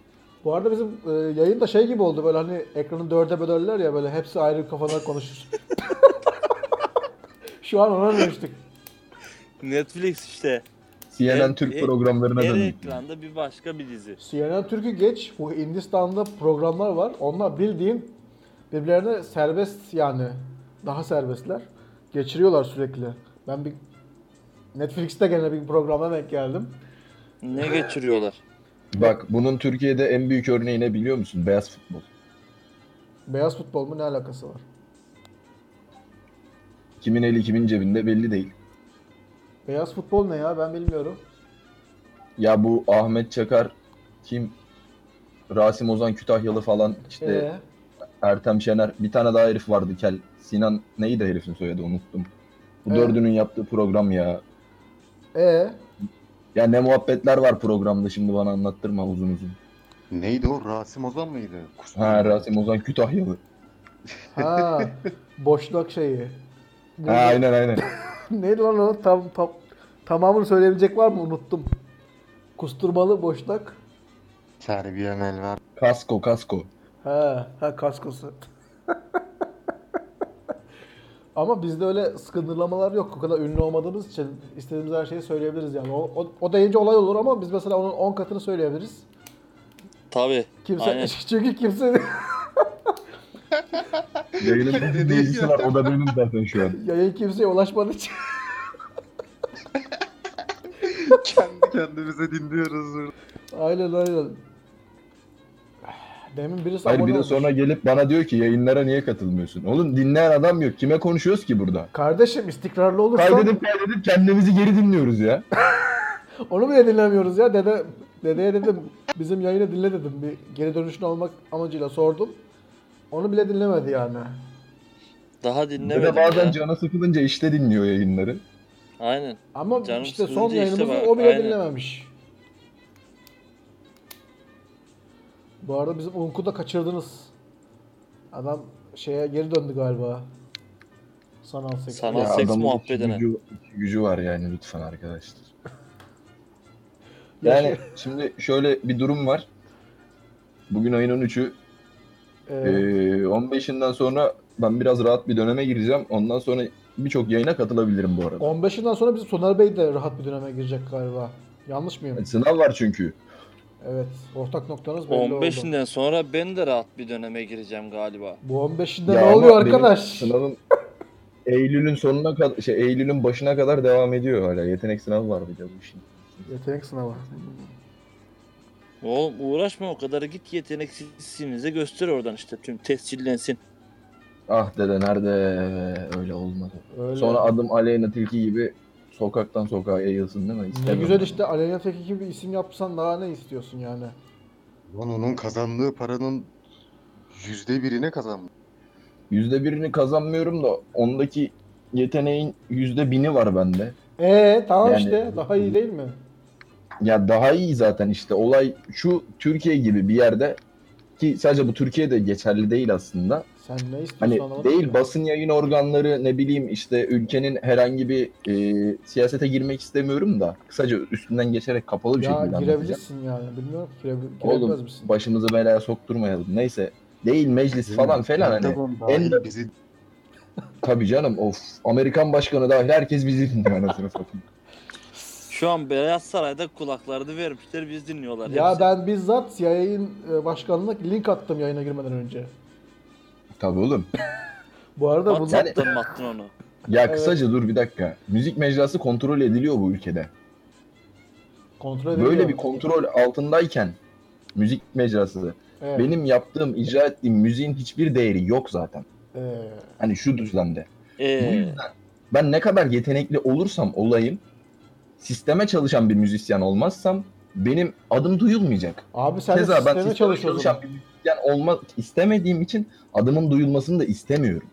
Speaker 3: bu arada bizim e, yayın da şey gibi oldu böyle hani ekranı dörde bölerler ya böyle hepsi ayrı kafalar konuşur. Şu an ona dönüştük.
Speaker 2: Netflix işte.
Speaker 5: CNN
Speaker 2: Evet,
Speaker 5: Türk
Speaker 2: e,
Speaker 5: programlarına
Speaker 2: Her
Speaker 5: dönüyor.
Speaker 2: ekranda bir başka bir dizi.
Speaker 3: CNN Türk'ü geç. Bu Hindistan'da programlar var. Onlar bildiğin birbirlerine serbest yani. Daha serbestler. Geçiriyorlar sürekli. Ben bir Netflix'te gene bir programa denk geldim.
Speaker 2: Ne geçiriyorlar?
Speaker 5: Bak bunun Türkiye'de en büyük örneği ne biliyor musun? Beyaz futbol.
Speaker 3: Beyaz futbol mu ne alakası var?
Speaker 5: Kimin eli kimin cebinde belli değil.
Speaker 3: Beyaz futbol ne ya ben bilmiyorum.
Speaker 5: Ya bu Ahmet Çakar kim? Rasim Ozan Kütahyalı falan işte
Speaker 3: Ee,
Speaker 5: Ertem Şener bir tane daha herif vardı kel. Sinan neydi herifin soyadı unuttum. Bu
Speaker 3: Ee?
Speaker 5: dördünün yaptığı program ya.
Speaker 3: ee,
Speaker 5: Ya ne muhabbetler var programda şimdi bana anlattırma uzun uzun.
Speaker 4: Neydi o? Rasim Ozan mıydı? Kusura
Speaker 5: Ha
Speaker 4: bakma.
Speaker 5: Rasim Ozan Kütahyalı.
Speaker 3: ha boşluk şeyi.
Speaker 5: Ha
Speaker 3: Ne-
Speaker 5: aynen aynen.
Speaker 3: Neydi lan o? Tam, tam, tamamını söyleyebilecek var mı? Unuttum. Kusturmalı boşluk.
Speaker 4: Terbiye Melver.
Speaker 5: Kasko kasko.
Speaker 3: Ha, ha kaskosu. Ama bizde öyle skınırlamalar yok. O kadar ünlü olmadığımız için istediğimiz her şeyi söyleyebiliriz yani. O, o, o deyince olay olur ama biz mesela onun 10 katını söyleyebiliriz.
Speaker 2: Tabii.
Speaker 3: Kimse
Speaker 2: Aynen.
Speaker 3: çünkü kimse
Speaker 5: Yayının ne ilgisi var o da benim zaten şu an.
Speaker 3: yayın kimseye ulaşmadığı için
Speaker 4: Kendi kendimize dinliyoruz burada.
Speaker 3: aynen aynen. Demin birisi
Speaker 5: Hayır bir
Speaker 3: abone
Speaker 5: de
Speaker 3: olmuş.
Speaker 5: sonra gelip bana diyor ki yayınlara niye katılmıyorsun? Oğlum dinleyen adam yok. Kime konuşuyoruz ki burada?
Speaker 3: Kardeşim istikrarlı olursan
Speaker 5: Kaydedip kaydedip kendimizi geri dinliyoruz ya.
Speaker 3: onu bile dinlemiyoruz ya. Dede, dedeye dedim bizim yayını dinle dedim. Bir geri dönüşünü almak amacıyla sordum. Onu bile dinlemedi yani.
Speaker 2: Daha
Speaker 5: Ve
Speaker 2: dinlemedim
Speaker 5: de bazen
Speaker 2: ya.
Speaker 5: canı sıkılınca işte dinliyor yayınları.
Speaker 2: Aynen.
Speaker 3: Ama
Speaker 2: Canım
Speaker 3: işte son
Speaker 2: sıkılınca işte
Speaker 3: yayınımızı
Speaker 2: bak,
Speaker 3: o bile
Speaker 2: aynen.
Speaker 3: dinlememiş. Bu arada bizim Unk'u da kaçırdınız. Adam şeye geri döndü galiba. Sanal seks.
Speaker 2: Sanal
Speaker 5: Ya
Speaker 2: seks
Speaker 5: adamın
Speaker 2: muhabbetine.
Speaker 5: iki Gücü, iki gücü var yani lütfen arkadaşlar.
Speaker 3: Ya
Speaker 5: Yani
Speaker 3: şey-
Speaker 5: şimdi şöyle bir durum var. Bugün ayın 13'ü.
Speaker 3: Ee,
Speaker 5: Ee, 15'inden sonra ben biraz rahat bir döneme gireceğim. Ondan sonra birçok yayına katılabilirim bu arada.
Speaker 3: 15'inden sonra bizim Soner Bey de rahat bir döneme girecek galiba. Yanlış mıyım?
Speaker 5: Sınav var çünkü.
Speaker 3: Evet. Ortak noktanız belli oldu.
Speaker 2: 15'inden sonra ben de rahat bir döneme gireceğim galiba.
Speaker 3: Bu 15'inde
Speaker 5: Ya
Speaker 3: ne
Speaker 5: ama
Speaker 3: oluyor
Speaker 5: benim
Speaker 3: arkadaş?
Speaker 5: Sınavım Eylül'ün sonuna kadar, şey Eylül'ün başına kadar devam ediyor hala. Yetenek sınavı var bir de bu işin.
Speaker 3: Yetenek sınavı.
Speaker 2: Oğlum uğraşma o kadar git yeteneksizsinize göster oradan işte tüm tescillensin.
Speaker 5: Ah dede nerede öyle olmadı.
Speaker 3: Öyle.
Speaker 5: Sonra adım Aleyna Tilki gibi sokaktan sokağa yayılsın değil mi?
Speaker 3: ne
Speaker 5: İstemiyorum
Speaker 3: güzel
Speaker 5: ben.
Speaker 3: işte Aleyna Tilki gibi isim yapsan daha ne istiyorsun yani?
Speaker 4: Lan onun kazandığı paranın yüzde birine kazanmış.
Speaker 5: Yüzde birini kazanmıyorum da ondaki yeteneğin yüzde bini var bende.
Speaker 3: Ee tamam
Speaker 5: Yani-
Speaker 3: işte daha iyi değil mi?
Speaker 5: Ya daha iyi zaten işte olay şu Türkiye gibi bir yerde ki sadece bu Türkiye'de geçerli değil aslında.
Speaker 3: Sen ne istiyorsun
Speaker 5: Hani
Speaker 3: anlamadım
Speaker 5: değil
Speaker 3: ki.
Speaker 5: basın yayın organları ne bileyim işte ülkenin herhangi bir e, siyasete girmek istemiyorum da kısaca üstünden geçerek kapalı bir şekilde
Speaker 3: Ya
Speaker 5: anlatacağım.
Speaker 3: girebilirsin yani bilmiyorum ki girebil- giremez
Speaker 5: Oğlum
Speaker 3: misin?
Speaker 5: başımızı belaya sokturmayalım. Neyse değil meclis falan filan hani.
Speaker 4: Pentagon
Speaker 5: en-
Speaker 4: dahil bizi
Speaker 5: Tabii canım of Amerikan başkanı dahil herkes bizi dinliyor anasını satayım.
Speaker 2: Şu an Beyaz Saray'da kulaklarını vermişler biz dinliyorlar.
Speaker 3: Ya
Speaker 2: hepsi.
Speaker 3: ben bizzat yayın e, başkanlığına link attım yayına girmeden önce.
Speaker 5: Tabii oğlum.
Speaker 3: Bu arada bunlar
Speaker 2: WhatsApp'tan mı attın onu?
Speaker 5: Ya
Speaker 3: Evet.
Speaker 5: kısaca dur bir dakika. Müzik mecrası kontrol ediliyor bu ülkede.
Speaker 3: kontrol ediliyor.
Speaker 5: Böyle bir kontrol altındayken müzik mecrası
Speaker 3: Evet,
Speaker 5: benim yaptığım, icra ettiğim müziğin hiçbir değeri yok zaten.
Speaker 3: ee,
Speaker 5: Hani şu düzlemde. Bu
Speaker 2: Ee,
Speaker 5: yüzden ben ne kadar yetenekli olursam olayım, sisteme çalışan bir müzisyen olmazsam benim adım duyulmayacak.
Speaker 3: abi sen
Speaker 5: Keza
Speaker 3: de
Speaker 5: ben
Speaker 3: sisteme
Speaker 5: sisteme
Speaker 3: çalış o
Speaker 5: çalışan
Speaker 3: zaman.
Speaker 5: bir müzisyen olmak istemediğim için adımın duyulmasını da istemiyorum.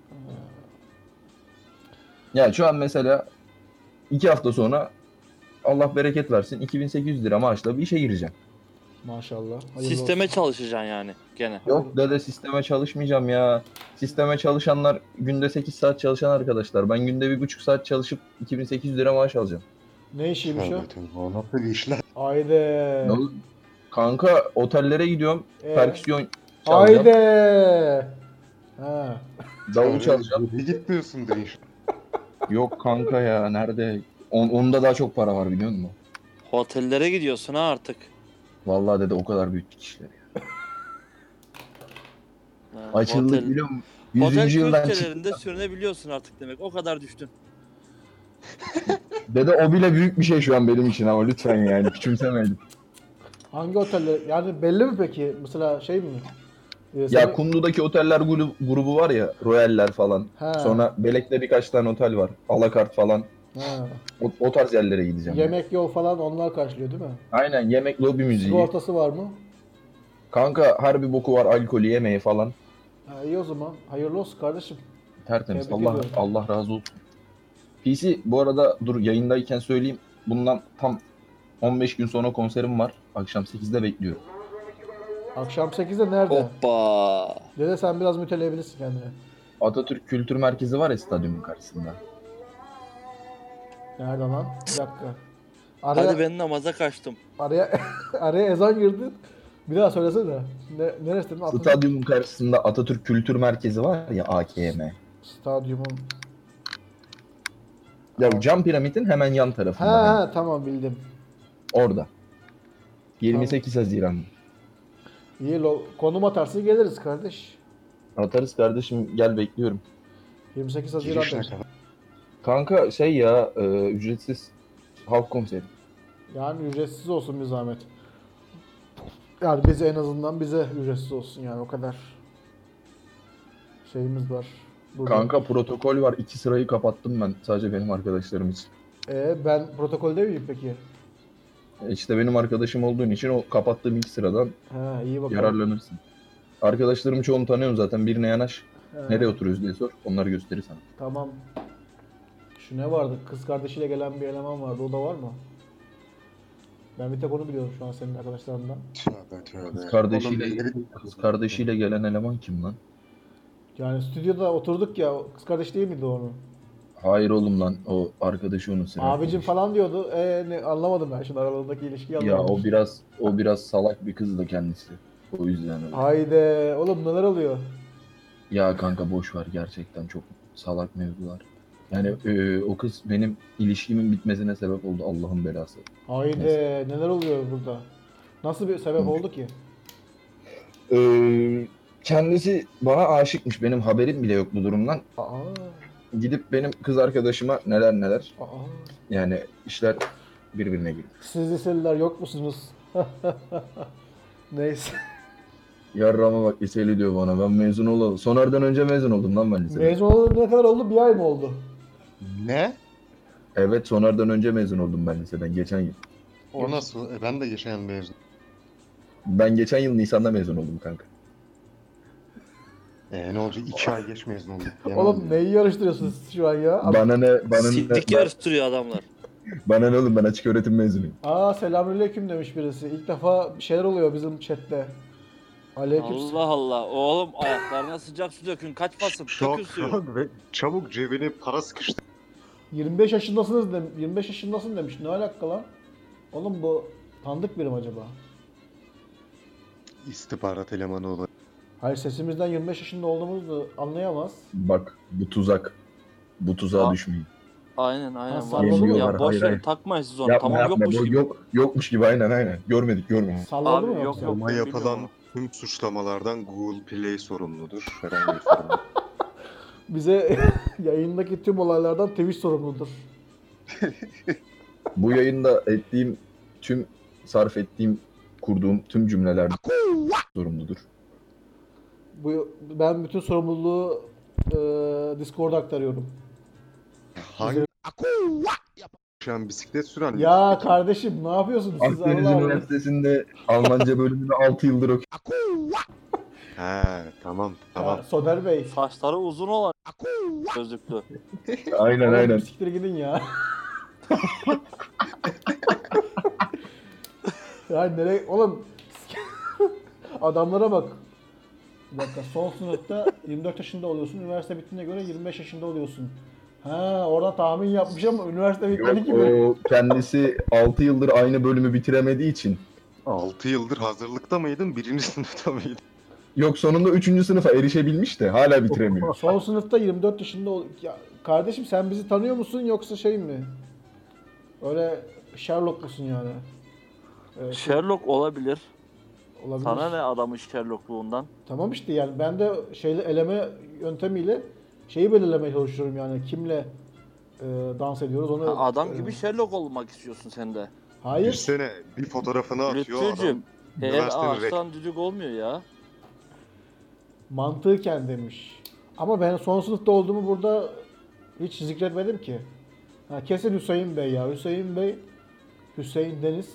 Speaker 5: Ya şu an mesela iki hafta sonra Allah bereket versin 2800 lira maaşla bir işe gireceğim.
Speaker 3: Maşallah. hayırlı
Speaker 2: sisteme
Speaker 3: olsun.
Speaker 2: çalışacaksın yani gene.
Speaker 5: Yok dede sisteme çalışmayacağım ya. Sisteme çalışanlar günde 8 saat çalışan arkadaşlar. Ben günde bir buçuk saat çalışıp 2800 lira maaş alacağım.
Speaker 3: Ne işiymiş o?
Speaker 4: Tövbe tövbe, o nasıl bir işler?
Speaker 3: Haydi.
Speaker 5: Ne olur? Kanka otellere gidiyorum.
Speaker 3: Ee?
Speaker 5: Perküsyon çalacağım.
Speaker 3: Haydi. Ha.
Speaker 5: Davul çalacağım.
Speaker 4: Bir gitmiyorsundur inşallah.
Speaker 5: Yok kanka ya nerede? On, onda daha çok para var biliyor musun?
Speaker 2: Otellere gidiyorsun ha artık.
Speaker 5: Vallahi dede o kadar büyüttük işleri.
Speaker 2: Ha,
Speaker 5: Açıldık
Speaker 2: otel-
Speaker 5: biliyor musun?
Speaker 2: Otel
Speaker 5: 100. yıldan çıktık.
Speaker 2: külçelerinde sürünebiliyorsun artık demek. O kadar düştün.
Speaker 5: Dede o bile büyük bir şey şu an benim için ama lütfen yani küçümsemeyin.
Speaker 3: Hangi oteller? Yani belli mi peki? Mesela şey mi? Ee,
Speaker 5: ya
Speaker 3: seni-
Speaker 5: Kumlu'daki oteller gru- grubu var ya Royaller falan.
Speaker 3: Ha.
Speaker 5: Sonra Belek'te birkaç tane otel var. Alakart falan.
Speaker 3: Ha.
Speaker 5: O, o tarz yerlere gideceğim.
Speaker 3: Yemek yol falan onlar karşılıyor değil mi?
Speaker 5: Aynen yemek lobi müziği.
Speaker 3: Sigortası var mı?
Speaker 5: Kanka harbi boku var alkolü yemeği falan.
Speaker 3: Ha, iyi o zaman. Hayırlı olsun kardeşim.
Speaker 5: Tertemiz.
Speaker 3: Tebrik
Speaker 5: Allah
Speaker 3: ediyorum.
Speaker 5: Allah razı olsun. PC bu arada dur yayındayken söyleyeyim. Bundan tam 15 gün sonra konserim var. Akşam 8'de bekliyorum.
Speaker 3: Akşam 8'de nerede?
Speaker 2: Oh. Hoppa.
Speaker 3: Dede sen biraz müteleyebilirsin kendine.
Speaker 5: Atatürk Kültür Merkezi var ya stadyumun karşısında.
Speaker 3: Nerede lan? Bir dakika. Araya,
Speaker 2: Hadi ben namaza kaçtım.
Speaker 3: araya, araya ezan girdi. Bir daha söylesene. Ne, neresi dedin? Aklım-
Speaker 5: Stadyumun karşısında Atatürk Kültür Merkezi var ya AKM.
Speaker 3: Stadyumun.
Speaker 5: Ya cam piramidin hemen yan
Speaker 3: He
Speaker 5: tarafında. yani.
Speaker 3: he tamam bildim.
Speaker 5: Orada. 28 Haziran.
Speaker 3: İyi lo, konum atarsın geliriz kardeş.
Speaker 5: Atarız kardeşim gel bekliyorum.
Speaker 3: 28
Speaker 4: Girişine
Speaker 3: Haziran'da.
Speaker 4: kadar.
Speaker 5: Kanka şey ya e, ücretsiz halk konseri.
Speaker 3: Yani ücretsiz olsun bir zahmet. Yani bize en azından bize ücretsiz olsun yani o kadar şeyimiz var. Burada.
Speaker 5: Kanka protokol var. iki sırayı kapattım ben. Sadece benim arkadaşlarım için.
Speaker 3: Ee, ben protokolde miyim peki?
Speaker 5: E, İşte benim arkadaşım olduğun için o kapattığım iki sıradan
Speaker 3: He iyi bakalım.
Speaker 5: yararlanırsın. Arkadaşlarımı çoğunu tanıyorum zaten. Birine yanaş.
Speaker 3: He,
Speaker 5: Nereye oturuyoruz diye sor. Onları gösterir sana.
Speaker 3: Tamam. Şu ne vardı? Kız kardeşiyle gelen bir eleman vardı. O da var mı? Ben bir tek onu biliyorum şu an senin arkadaşlarından.
Speaker 4: Tövbe tövbe.
Speaker 5: Kız kardeşiyle-
Speaker 4: Oğlum neleri-
Speaker 5: Kız kardeşiyle gelen eleman kim lan?
Speaker 3: Yani stüdyoda oturduk ya. o Kız kardeş değil miydi onun?
Speaker 5: Hayır oğlum lan. O arkadaşı onun senin
Speaker 3: Abicim
Speaker 5: arkadaşı.
Speaker 3: falan diyordu. Ee, ne, anlamadım ben şimdi aralarındaki ilişkiyi
Speaker 5: Ya
Speaker 3: anlamadım.
Speaker 5: o biraz o biraz salak bir kızdı kendisi. O yüzden. öyle.
Speaker 3: Haydi oğlum neler oluyor?
Speaker 5: Ya kanka boş ver gerçekten çok salak mevzular. Yani e, o kız benim ilişkimin bitmesine sebep oldu Allah'ın belası.
Speaker 3: Haydi
Speaker 5: Neyse.
Speaker 3: neler oluyor burada? Nasıl bir sebep oldu ki?
Speaker 5: Ee, kendisi bana aşıkmış. Benim haberim bile yok bu durumdan.
Speaker 3: Aa,
Speaker 5: Gidip benim kız arkadaşıma neler neler.
Speaker 3: aa.
Speaker 5: Yani işler birbirine girdi.
Speaker 3: Siz liseliler yok musunuz? Neyse.
Speaker 5: Yarrama bak liseli diyor bana. Ben mezun olalım. Sonardan önce mezun oldum lan ben lisede.
Speaker 3: Mezun olalı ne kadar oldu? Bir ay mı oldu?
Speaker 4: Ne?
Speaker 5: evet sonardan önce mezun oldum ben liseden. Geçen yıl.
Speaker 4: O nasıl? E, ben de yaşayan mezun.
Speaker 5: Ben geçen yıl Nisan'da mezun oldum kanka.
Speaker 4: E, ne olacak? İki ay geç mezun olduk. Yalan
Speaker 3: Oğlum
Speaker 4: mı?
Speaker 3: neyi yarıştırıyorsunuz siz şu an ya? Abi-
Speaker 5: Bana ne, bana ne,
Speaker 2: Sitlik yarıştırıyor adamlar.
Speaker 5: bana ne oğlum ben açık öğretim mezunuyum.
Speaker 3: Aa selamünaleyküm demiş birisi. İlk defa bir şeyler oluyor bizim chatte. Aleyküm.
Speaker 2: Allah Allah. Oğlum ayaklarına sıcak su dökün. Kaç basıp
Speaker 4: Şok,
Speaker 2: dökün suyu.
Speaker 4: şok ve çabuk cebine para sıkıştı.
Speaker 3: 25 yaşındasınız dem 25 yaşındasın demiş. Ne alaka lan? Oğlum bu tanıdık birim acaba?
Speaker 4: İstihbarat elemanı olarak.
Speaker 3: Hayır sesimizden 25 yaşında olduğumuzu anlayamaz.
Speaker 5: Bak bu tuzak. Bu tuzağa
Speaker 2: Aa,
Speaker 5: düşmeyin.
Speaker 2: Aynen
Speaker 3: Ha,
Speaker 2: aynen.
Speaker 3: salladım.
Speaker 2: Var.
Speaker 5: Yemiyorlar,
Speaker 2: Ya boş
Speaker 5: hayır,
Speaker 2: verin
Speaker 5: hayır.
Speaker 2: takmayın siz onu.
Speaker 5: Yapma
Speaker 2: tamam
Speaker 5: yapma.
Speaker 2: yokmuş
Speaker 5: Bu
Speaker 2: gibi.
Speaker 5: yok, yokmuş gibi aynen aynen. Görmedik görmedik.
Speaker 3: Salladı
Speaker 2: Abi,
Speaker 3: mı
Speaker 2: yok,
Speaker 3: yoksa?
Speaker 2: yok.
Speaker 4: Ama
Speaker 2: ben
Speaker 4: yapılan
Speaker 2: bilmiyorum.
Speaker 4: tüm suçlamalardan Google Play sorumludur. Herhangi bir sorun. yok.
Speaker 3: Bize yayındaki tüm olaylardan Twitch sorumludur.
Speaker 5: Bu yayında ettiğim tüm sarf ettiğim kurduğum tüm cümleler sorumludur.
Speaker 3: Bu ben bütün sorumluluğu e, Discord'a aktarıyorum.
Speaker 4: Hangi? Şu an bisiklet süren
Speaker 3: Ya kardeşim ne yapıyorsunuz siz
Speaker 5: Akdeniz
Speaker 3: Allah Allah.
Speaker 5: Üniversitesi'nde Almanca bölümünü 6 yıldır okuyorum.
Speaker 4: He tamam
Speaker 3: Ya,
Speaker 4: tamam.
Speaker 3: Soner Bey.
Speaker 2: Saçları uzun olan gözlüklü.
Speaker 5: Aynen
Speaker 3: oğlum
Speaker 5: aynen.
Speaker 3: Siktir gidin ya. ya nereye oğlum adamlara bak. Bir dakika son sınıfta 24 yaşında oluyorsun. Üniversite bittiğine göre 25 yaşında oluyorsun. Ha orada tahmin yapmış ama üniversite bitmedi
Speaker 5: Yok
Speaker 3: ki böyle.
Speaker 5: o kendisi 6 yıldır aynı bölümü bitiremediği için.
Speaker 4: 6 yıldır hazırlıkta mıydın? Birinci sınıfta mıydın?
Speaker 5: Yok sonunda 3. sınıfa erişebilmiş de hala bitiremiyor.
Speaker 3: Son sınıfta 24 yaşında ol... Ya, kardeşim sen bizi tanıyor musun yoksa şey mi? Öyle Sherlock musun yani? Evet,
Speaker 2: Sherlock olabilir.
Speaker 3: olabilir.
Speaker 2: Sana ne adamın Sherlock'luğundan?
Speaker 3: Tamam işte yani ben de şeyle eleme yöntemiyle şeyi belirlemeye çalışıyorum yani kimle e, dans ediyoruz onu.
Speaker 2: Ha, adam
Speaker 3: e,
Speaker 2: gibi Sherlock olmak istiyorsun sen de.
Speaker 4: Bir
Speaker 3: Hayır.
Speaker 4: sene bir fotoğrafını atıyor adam.
Speaker 2: Lütfücüm. Her
Speaker 4: Üniversitenin
Speaker 2: ağaçtan düdük olmuyor ya.
Speaker 3: Mantıken demiş. Ama ben son sınıfta olduğumu burada hiç zikretmedim ki. Ha, kesin Hüseyin Bey ya. Hüseyin Bey, Hüseyin Deniz.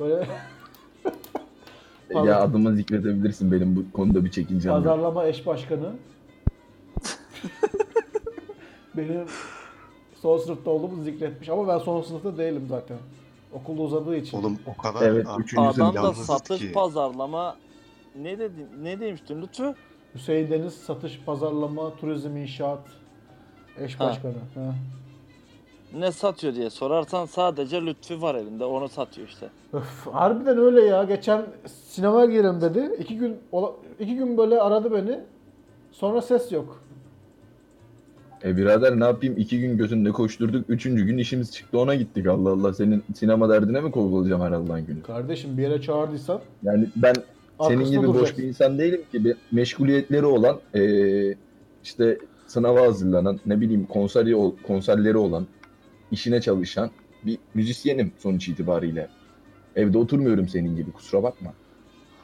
Speaker 3: Böyle Pazar-
Speaker 5: Ya adımı zikredebilirsin benim bu konuda bir çekincem yok.
Speaker 3: pazarlama eş başkanı. Benim son sınıfta olduğumu zikretmiş ama ben son sınıfta değilim zaten. Okul uzadığı için.
Speaker 4: Oğlum o kadar
Speaker 5: Evet,
Speaker 4: ar-
Speaker 5: üçüncü sınıf.
Speaker 2: Adam da
Speaker 4: yalnızız
Speaker 2: satış
Speaker 4: ki.
Speaker 2: pazarlama ne dedin ne demiştin Lütfü?
Speaker 3: Hüseyin Deniz satış, pazarlama, turizm, inşaat eş
Speaker 2: Ha.
Speaker 3: başkanı. Ha.
Speaker 2: Ne satıyor diye sorarsan sadece Lütfü var elinde onu satıyor işte.
Speaker 3: Öf, harbiden öyle ya. Geçen sinemaya girelim dedi. İki gün ola- iki gün böyle aradı beni. Sonra ses yok.
Speaker 5: E birader ne yapayım? iki gün gözünde koşturduk. Üçüncü gün işimiz çıktı ona gittik. Allah Allah senin sinema derdine mi kovulacağım her Allah'ın günü?
Speaker 3: Kardeşim bir yere çağırdıysan
Speaker 5: Yani ben
Speaker 3: arkasında
Speaker 5: senin gibi boş
Speaker 3: duracaksın.
Speaker 5: bir insan değilim ki. Bir Meşguliyetleri olan eee, işte sınava hazırlanan ne bileyim konseri, ol- konserleri olan işine çalışan bir müzisyenim sonuç itibariyle. Evde oturmuyorum senin gibi kusura bakma.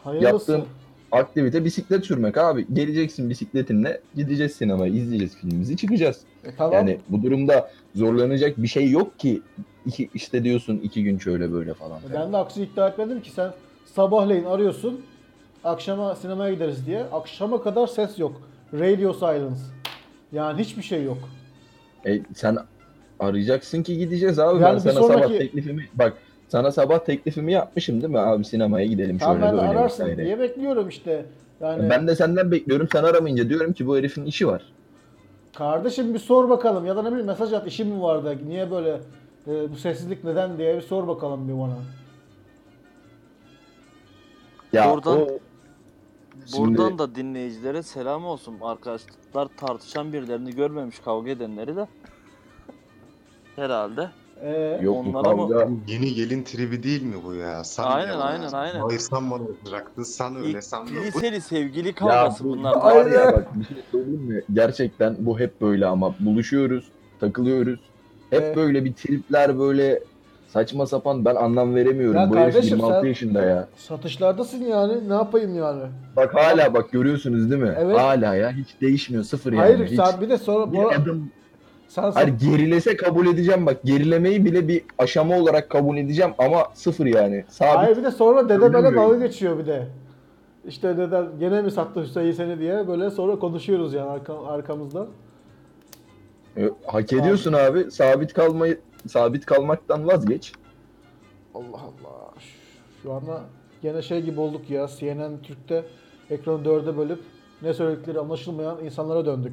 Speaker 3: Hayırlısı.
Speaker 5: Yaptığım- Aktivite bisiklet sürmek abi. Geleceksin bisikletinle gideceğiz sinemaya izleyeceğiz filmimizi çıkacağız.
Speaker 3: E, tamam.
Speaker 5: Yani bu durumda zorlanacak bir şey yok ki. İki, işte diyorsun iki gün şöyle böyle falan.
Speaker 3: E,
Speaker 5: filan.
Speaker 3: Ben de aksi iddia etmedim ki sen sabahleyin arıyorsun. Akşama sinemaya gideriz diye. Akşama kadar ses yok. Radio silence. Yani hiçbir şey yok.
Speaker 5: E, sen arayacaksın ki gideceğiz abi.
Speaker 3: Yani
Speaker 5: ben
Speaker 3: bir
Speaker 5: sana sabah
Speaker 3: sonraki-
Speaker 5: teklifimi bak sana sabah teklifimi yapmışım değil mi abi sinemaya gidelim
Speaker 3: Tamam
Speaker 5: şöyle
Speaker 3: ben de
Speaker 5: böyle
Speaker 3: ararsın Hani-
Speaker 5: vesaire.
Speaker 3: diye bekliyorum işte. Yani
Speaker 5: Ben de senden bekliyorum. Sen aramayınca diyorum ki bu herifin işi var.
Speaker 3: Kardeşim bir sor bakalım ya da ne bileyim mesaj at işim mi vardı niye böyle e, bu sessizlik neden diye bir sor bakalım bir bana.
Speaker 5: Ya
Speaker 2: Oradan-
Speaker 5: o Şimdi-
Speaker 2: Buradan da dinleyicilere selam olsun arkadaşlar tartışan birilerini görmemiş kavga edenleri de herhalde.
Speaker 3: Ee,
Speaker 5: yok mu
Speaker 2: onlara mı-
Speaker 5: kavga?
Speaker 4: Bu Yeni gelin tribi değil mi bu ya? Sen
Speaker 2: Aynen,
Speaker 4: niye bana
Speaker 2: aynen,
Speaker 4: yazdın?
Speaker 2: aynen.
Speaker 4: Hayır sen bana yazacaktın. Sen öyle sen böyle. Bu-
Speaker 2: Liseli sevgili kavgası
Speaker 5: bu-
Speaker 2: bunlar.
Speaker 5: var
Speaker 3: Aynen.
Speaker 5: ya bak bir şey söyleyeyim mi? Gerçekten bu hep böyle ama buluşuyoruz, takılıyoruz. Hep
Speaker 3: Evet.
Speaker 5: böyle bir tripler böyle saçma sapan ben anlam veremiyorum.
Speaker 3: Ya
Speaker 5: bu herif
Speaker 3: kardeşim
Speaker 5: 26
Speaker 3: sen-
Speaker 5: yaşında ya.
Speaker 3: satışlardasın yani ne yapayım yani.
Speaker 5: Bak hala bak görüyorsunuz değil mi?
Speaker 3: Evet.
Speaker 5: Hala ya hiç değişmiyor sıfır yani.
Speaker 3: Hayır
Speaker 5: hiç.
Speaker 3: sen bir de sonra
Speaker 5: Bir
Speaker 3: bu
Speaker 5: adım-
Speaker 3: sen
Speaker 5: Hayır gerilese kabul edeceğim bak. Gerilemeyi bile bir aşama olarak kabul edeceğim ama sıfır yani. Sabit.
Speaker 3: hayır bir de sonra dede bana
Speaker 5: Anlamıyorum.
Speaker 3: dalga geçiyor bir de. İşte deden gene mi sattı Hüseyin seni diye böyle sonra konuşuyoruz yani arka, arkamızda.
Speaker 5: Ee, Hak ediyorsun abi. Sabit kalmayı sabit kalmaktan vazgeç.
Speaker 3: Allah Allah. Şu- Şu anda gene şey gibi olduk ya CNN Türk'te ekranı dörde bölüp ne söyledikleri anlaşılmayan insanlara döndük.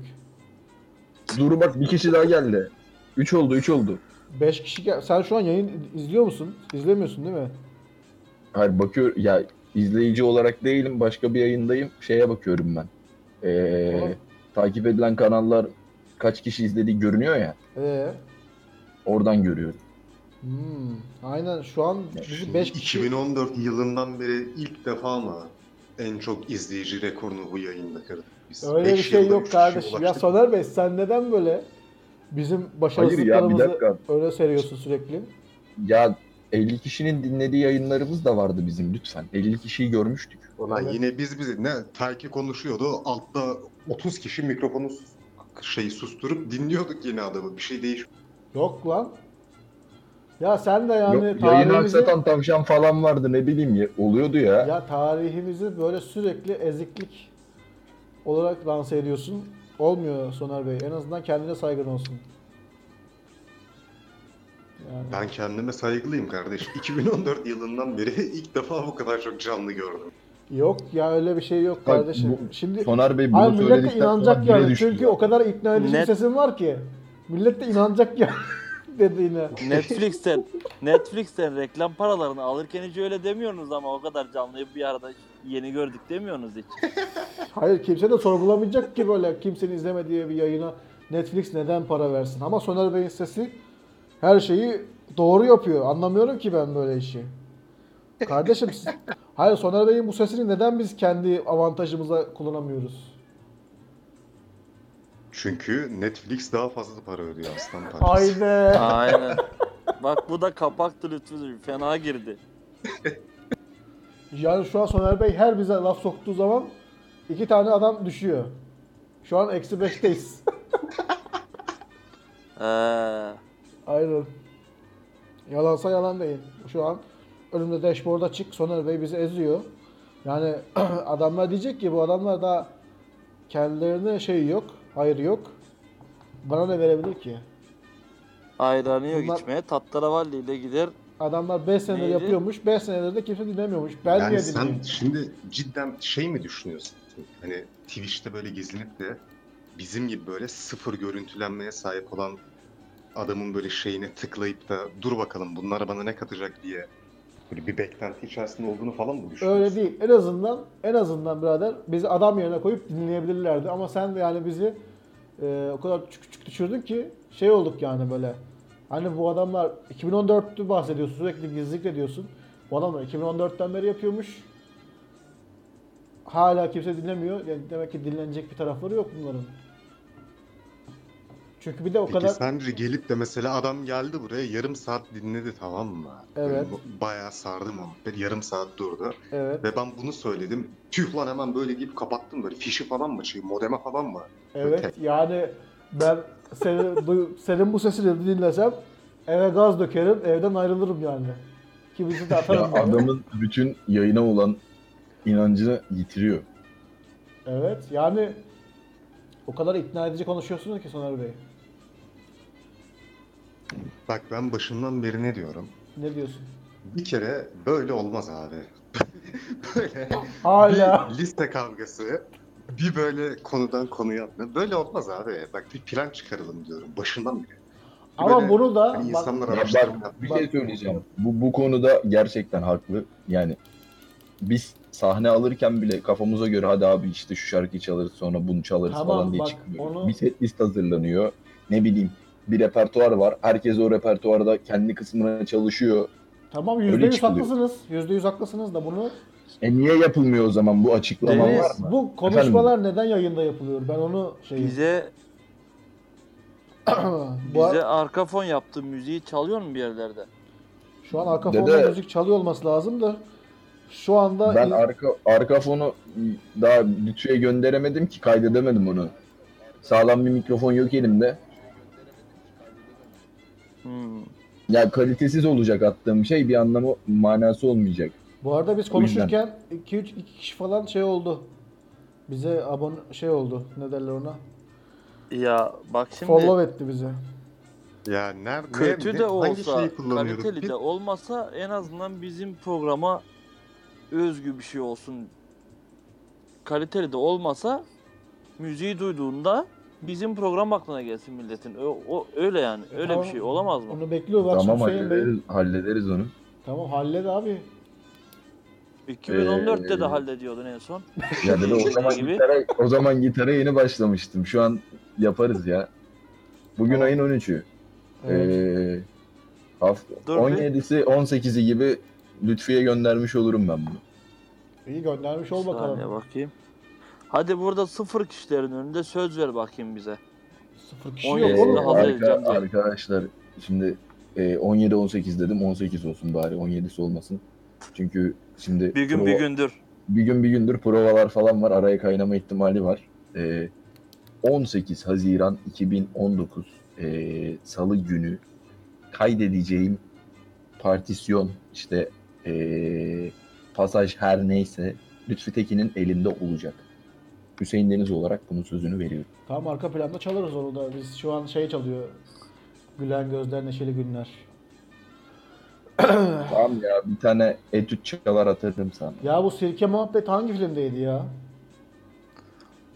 Speaker 5: Dur bak bir kişi daha geldi. 3 oldu 3 oldu.
Speaker 3: 5 kişi gel- Sen şu an yayın izliyor musun? İzlemiyorsun değil mi?
Speaker 5: Hayır bakıyor ya izleyici olarak değilim başka bir yayındayım. Şeye bakıyorum ben. Ee,
Speaker 3: Tamam.
Speaker 5: takip edilen kanallar kaç kişi izlediği görünüyor ya.
Speaker 3: Ee.
Speaker 5: Oradan görüyorum.
Speaker 3: Hmm. Aynen şu an bizi 5 kişi
Speaker 4: 2014 yılından beri ilk defa mı en çok izleyici rekorunu bu yayında kırdık biz?
Speaker 3: Öyle bir
Speaker 4: Beş
Speaker 3: şey
Speaker 4: yılda
Speaker 3: yok
Speaker 4: üç kişiye
Speaker 3: kardeşim. Ya
Speaker 4: ulaştık.
Speaker 3: Soner Bey sen neden böyle bizim
Speaker 5: Hayır ya bir
Speaker 3: başarısızlıklarımızı
Speaker 5: dakika.
Speaker 3: öyle seriyorsun sürekli?
Speaker 5: Ya 50 kişinin dinlediği yayınlarımız da vardı bizim lütfen. 50 kişiyi görmüştük.
Speaker 4: Ulan
Speaker 3: Evet.
Speaker 4: yine biz biz ne Terki konuşuyordu. Altta 30 kişi mikrofonu sus- şey susturup dinliyorduk yine adamı. Bir şey değiş.
Speaker 3: Yok lan. Ya sen de yani
Speaker 5: Yok, yayını
Speaker 3: tarihimizi
Speaker 5: aksatan tavşan falan vardı ne bileyim ya, oluyordu ya.
Speaker 3: ya tarihimizi böyle sürekli eziklik olarak lanse ediyorsun. Olmuyor Soner Bey. En azından kendine saygın olsun. Yani.
Speaker 4: Ben kendime saygılıyım kardeş. 2014 yılından beri ilk defa bu kadar çok canlı gördüm.
Speaker 3: Yok ya öyle bir şey yok
Speaker 5: Bak,
Speaker 3: kardeşim.
Speaker 5: bu-
Speaker 3: Şimdi
Speaker 5: Soner Bey bunu
Speaker 3: Ay millet de
Speaker 5: söyledikten sonra
Speaker 3: inanacak
Speaker 5: bire
Speaker 3: yani.
Speaker 5: düştü.
Speaker 3: Çünkü o kadar ikna edici bir
Speaker 2: Net-
Speaker 3: sesin var ki. Millet de inanacak ya dediğine.
Speaker 2: Netflix'ten Netflix'ten reklam paralarını alırken hiç öyle demiyorsunuz ama o kadar canlıyı bir arada yeni gördük demiyorsunuz hiç.
Speaker 3: Hayır kimse de sorgulamayacak ki böyle kimsenin izlemediği bir yayına Netflix neden para versin. Ama Soner Bey'in sesi her şeyi doğru yapıyor. Anlamıyorum ki ben böyle işi. Kardeşim siz- hayır Soner Bey'in bu sesini neden biz kendi avantajımıza kullanamıyoruz?
Speaker 4: Çünkü Netflix daha fazla para ödüyor aslan parçası.
Speaker 3: Haydi.
Speaker 2: Aynen. Bak bu da kapaktı lütfü fena girdi.
Speaker 3: Yani şu an Soner Bey her bize laf soktuğu zaman iki tane adam düşüyor. Şu an eksi beşteyiz.
Speaker 2: Ee,
Speaker 3: Aynen. Yalansa yalan değil. Şu an önümde dashboard'a çık Soner Bey bizi eziyor. Yani adamlar diyecek ki bu adamlar daha kendilerine şey yok, hayır yok. Bana ne verebilir ki?
Speaker 2: ayranı yok
Speaker 3: Bunlar-
Speaker 2: içmeye. Tattaravalli ile gider.
Speaker 3: Adamlar 5 senedir
Speaker 2: Neydi?
Speaker 3: yapıyormuş, 5 senedir de kimse dinlemiyormuş. Ben
Speaker 4: yani
Speaker 3: niye
Speaker 4: sen
Speaker 3: dinleyeyim?
Speaker 4: şimdi cidden şey mi düşünüyorsun? Hani Twitch'te böyle gizlenip de bizim gibi böyle sıfır görüntülenmeye sahip olan adamın böyle şeyine tıklayıp da dur bakalım bunlar bana ne katacak diye böyle bir beklenti içerisinde olduğunu falan mı düşünüyorsun?
Speaker 3: Öyle değil. En azından en azından birader bizi adam yerine koyup dinleyebilirlerdi. Ama sen de yani bizi e, o kadar küçük küçük düşürdün ki şey olduk yani böyle. Hani bu adamlar 2014'tü bahsediyorsun sürekli gizlilikle diyorsun. Bu adamlar 2014'ten beri yapıyormuş. Hala kimse dinlemiyor. Yani demek ki dinlenecek bir tarafları yok bunların. Çünkü bir de o
Speaker 4: Peki
Speaker 3: kadar
Speaker 4: sence gelip de mesela adam geldi buraya yarım saat dinledi tamam mı?
Speaker 3: Evet.
Speaker 4: Böyle Bayağı sardı muhabbet. Yarım saat durdu.
Speaker 3: evet
Speaker 4: Ve ben bunu söyledim. Tüh lan hemen böyle deyip kapattım böyle. Fişi falan mı çıkıyor? Modeme falan mı?
Speaker 3: Evet yani ben seni, duy- senin bu sesini dinlesem eve gaz dökerim, evden ayrılırım yani. Kimisi de
Speaker 5: Ya
Speaker 3: atarım. yani.
Speaker 5: adamın bütün yayına olan inancını yitiriyor.
Speaker 3: Evet yani o kadar ikna edici konuşuyorsunuz ki Soner Bey.
Speaker 4: Bak ben başından beri ne diyorum?
Speaker 3: Ne diyorsun?
Speaker 4: Bir kere böyle olmaz abi. böyle
Speaker 3: Hala.
Speaker 4: bir liste kavgası, bir böyle konudan konuya atma. Böyle olmaz abi. Bak bir plan çıkaralım diyorum başından beri.
Speaker 3: Ama bunu da
Speaker 4: Hani
Speaker 3: bak,
Speaker 4: insanlar
Speaker 5: Ya
Speaker 4: araştırma
Speaker 5: bak, bir
Speaker 4: yapmak-
Speaker 5: şey söyleyeceğim. Bu, bu konuda gerçekten haklı. Yani biz sahne alırken bile kafamıza göre hadi abi işte şu şarkıyı çalarız sonra bunu çalarız
Speaker 3: Tamam,
Speaker 5: falan diye
Speaker 3: bak,
Speaker 5: çıkmıyoruz.
Speaker 3: onu-
Speaker 5: Bir set list hazırlanıyor. Ne bileyim bir repertuar var. Herkes o repertuarda kendi kısmına çalışıyor.
Speaker 3: tamam
Speaker 5: Öyle
Speaker 3: %100
Speaker 5: çıkılıyor.
Speaker 3: haklısınız. %100 haklısınız da bunu
Speaker 5: E niye yapılmıyor o zaman bu açıklama
Speaker 2: Deniz,
Speaker 5: var mı?
Speaker 3: bu konuşmalar neden yayında yapılıyor? Ben onu şey
Speaker 2: Bize
Speaker 3: bu,
Speaker 2: bize arka fon yaptı. Müziği çalıyor mu bir yerlerde?
Speaker 3: şu an arka
Speaker 5: Dede-
Speaker 3: fonda müzik çalıyor olması lazım da şu anda
Speaker 5: Ben
Speaker 3: in-
Speaker 5: arka arka fonu daha Lütfü'ye gönderemedim ki kaydedemedim onu. Sağlam bir mikrofon yok elimde.
Speaker 2: Hmm.
Speaker 5: Ya kalitesiz olacak attığım şey bir anlamı manası olmayacak.
Speaker 3: Bu arada biz
Speaker 5: O yüzden.
Speaker 3: konuşurken 2 3 2 kişi falan şey oldu. Bize abone şey oldu. Ne derler ona?
Speaker 2: Ya bak şimdi
Speaker 3: Follow etti bize.
Speaker 4: Ya nerede?
Speaker 2: kötü
Speaker 4: ne-
Speaker 2: de
Speaker 4: hangi
Speaker 2: olsa,
Speaker 4: şeyi kullanıyoruz?
Speaker 2: kaliteli
Speaker 4: Bir-
Speaker 2: de olmasa en azından bizim programa özgü bir şey olsun. Kaliteli de olmasa müziği duyduğunda bizim program aklına gelsin milletin. O, o- öyle yani.
Speaker 3: E
Speaker 2: Öyle
Speaker 3: tamam.
Speaker 2: bir şey olamaz mı?
Speaker 3: Onu bekliyor bak
Speaker 5: tamam
Speaker 3: şimdi Hüseyin Bey.
Speaker 5: hallederiz, hallederiz onu.
Speaker 3: Tamam halled abi.
Speaker 2: 2014'te de
Speaker 5: Ee,
Speaker 2: hallediyordun en son.
Speaker 5: Ya dede
Speaker 2: şey
Speaker 5: o zaman
Speaker 2: Gibi.
Speaker 5: gitara, o zaman gitara yeni başlamıştım. Şu an yaparız ya. Bugün
Speaker 3: Tamam.
Speaker 5: ayın 13'ü.
Speaker 3: Evet.
Speaker 5: Ee, haft-
Speaker 2: Dur bir.
Speaker 5: 17'si 18'i gibi Lütfü'ye göndermiş olurum ben bunu.
Speaker 3: İyi göndermiş ol
Speaker 2: Saniye
Speaker 3: bakalım.
Speaker 2: bakayım. Hadi burada sıfır kişilerin önünde söz ver bakayım bize.
Speaker 3: Sıfır kişi
Speaker 2: On
Speaker 3: yok
Speaker 2: yedi.
Speaker 3: oğlum.
Speaker 2: Onu hazır
Speaker 5: Ee, arka,
Speaker 2: edeceğim diye.
Speaker 5: arkadaşlar şimdi e, 17-18 dedim 18 olsun bari 17'si olmasın. Çünkü şimdi
Speaker 2: Bir gün
Speaker 5: prova-
Speaker 2: bir gündür.
Speaker 5: bir gün bir gündür provalar falan var. Araya kaynama ihtimali var. Ee, 18 Haziran 2019 ee, Salı günü kaydedeceğim partisyon işte ee, pasaj her neyse Lütfi Tekin'in elinde olacak. Hüseyin Deniz olarak bunun sözünü veriyorum.
Speaker 3: Tamam arka planda çalarız onu da. Biz şu an şey çalıyor. Gülen gözler neşeli günler.
Speaker 5: Tamam ya bir tane etüt çalar atarım sana.
Speaker 3: Ya bu sirke muhabbet hangi filmdeydi ya?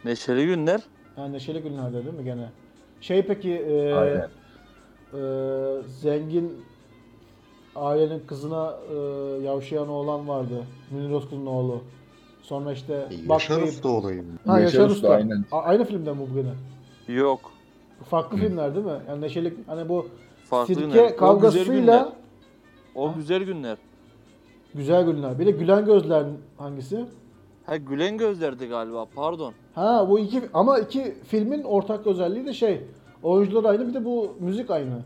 Speaker 2: Neşeli günler.
Speaker 3: Ha, neşeli günlerde değil mi gene? Şey peki e,
Speaker 5: Aynen.
Speaker 3: e, zengin ailenin kızına e, yavşayan oğlan vardı. Münir Özkul'un oğlu. Sonra işte
Speaker 4: E, Yaşarız da olayım.
Speaker 3: Ha, Yaşar,
Speaker 5: Yaşar
Speaker 3: Usta.
Speaker 5: Usta, aynen.
Speaker 3: A- aynı filmde mi bu gene?
Speaker 2: Yok.
Speaker 3: Farklı filmler değil mi? Yani neşeli hani bu
Speaker 2: Farklı
Speaker 3: sirke
Speaker 2: günler. O güzel
Speaker 3: kavgasıyla
Speaker 2: günler. O güzel günler.
Speaker 3: güzel günler. Bir de gülen gözler hangisi?
Speaker 2: Ha gülen gözlerdi galiba pardon.
Speaker 3: Ha bu iki ama iki filmin ortak özelliği de şey oyuncular aynı bir de bu müzik aynı.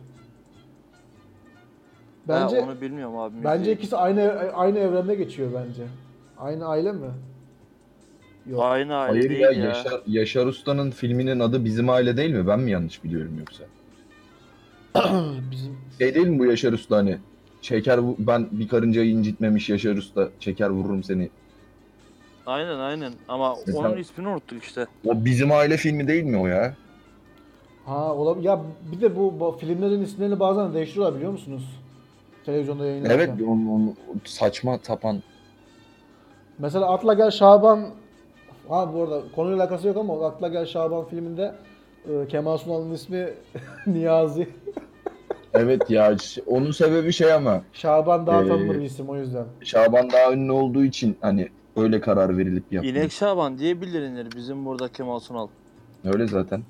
Speaker 3: Bence
Speaker 2: ha, onu bilmiyorum abi. müziği.
Speaker 3: Bence ikisi aynı aynı evrende geçiyor bence. Aynı aile mi? Yok.
Speaker 2: aynı aile
Speaker 5: Hayır
Speaker 2: değil
Speaker 5: ya,
Speaker 2: ya.
Speaker 5: Yaşar, Yaşar Usta'nın filminin adı Bizim Aile değil mi? Ben mi yanlış biliyorum yoksa?
Speaker 3: Bizim
Speaker 5: Şey değil mi bu Yaşar Usta hani? Şeker vu- ben bir karıncayı incitmemiş Yaşar Usta. Şeker vururum seni.
Speaker 2: Aynen aynen ama
Speaker 5: Mesela-
Speaker 2: onun ismini unuttuk işte.
Speaker 5: O bizim aile filmi değil mi o ya?
Speaker 3: ha olab ya bir de bu, bu filmlerin isimlerini bazen değiştiriyorlar biliyor musunuz? Televizyonda yayınlarken.
Speaker 5: Evet onun, onun saçma tapan.
Speaker 3: Mesela Atla Gel Şaban ha bu arada konuyla alakası yok ama Atla Gel Şaban filminde e, Kemal Sunal'ın ismi Niyazi.
Speaker 5: Evet ya ş- onun sebebi şey ama
Speaker 3: Şaban daha
Speaker 5: Ee,
Speaker 3: tanınır bir isim o yüzden.
Speaker 5: Şaban daha ünlü olduğu için hani öyle karar verilip yapmış.
Speaker 2: İnek Şaban diye bilinir bizim burada Kemal Sunal.
Speaker 5: Öyle zaten.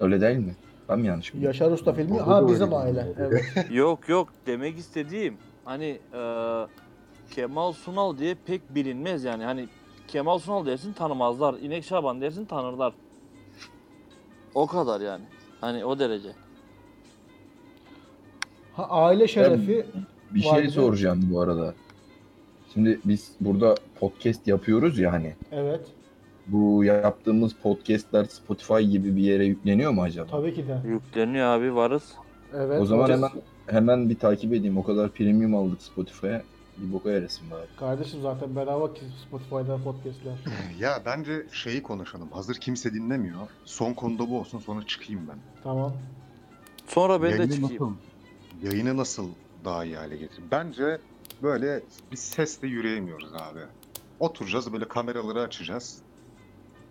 Speaker 5: Öyle değil mi? Ben mi yanlış biliyorum?
Speaker 3: Yaşar Usta filmi
Speaker 4: Orada
Speaker 3: ha
Speaker 4: da
Speaker 3: bizim
Speaker 4: öyle
Speaker 3: aile.
Speaker 4: diyor.
Speaker 3: Evet.
Speaker 2: yok yok demek istediğim hani e, Kemal Sunal diye pek bilinmez yani. Hani Kemal Sunal dersin tanımazlar. İnek Şaban dersin tanırlar. O kadar yani. Hani o derece.
Speaker 3: Ha, aile şerefi
Speaker 5: Bir
Speaker 3: Var
Speaker 5: şey
Speaker 3: mı?
Speaker 5: soracağım bu arada. Şimdi biz burada podcast yapıyoruz ya hani.
Speaker 3: evet
Speaker 5: Bu yaptığımız podcastler Spotify gibi bir yere yükleniyor mu acaba?
Speaker 3: tabii ki de.
Speaker 2: Yükleniyor abi varız.
Speaker 3: Evet.
Speaker 5: o zaman
Speaker 3: hocam.
Speaker 5: hemen hemen bir takip edeyim. O kadar premium aldık Spotify'a. Bir boka yeresin bari.
Speaker 3: Kardeşim zaten bedava ki Spotify'da podcastler.
Speaker 4: Ya bence şeyi konuşalım. Hazır kimse dinlemiyor. Son konuda bu olsun sonra çıkayım ben.
Speaker 3: tamam.
Speaker 2: Sonra ben de
Speaker 4: Yayını
Speaker 2: çıkayım.
Speaker 4: nasıl, yayını nasıl daha iyi hale getirin? Bence böyle bir sesle yürüyemiyoruz abi. Oturacağız böyle kameraları açacağız.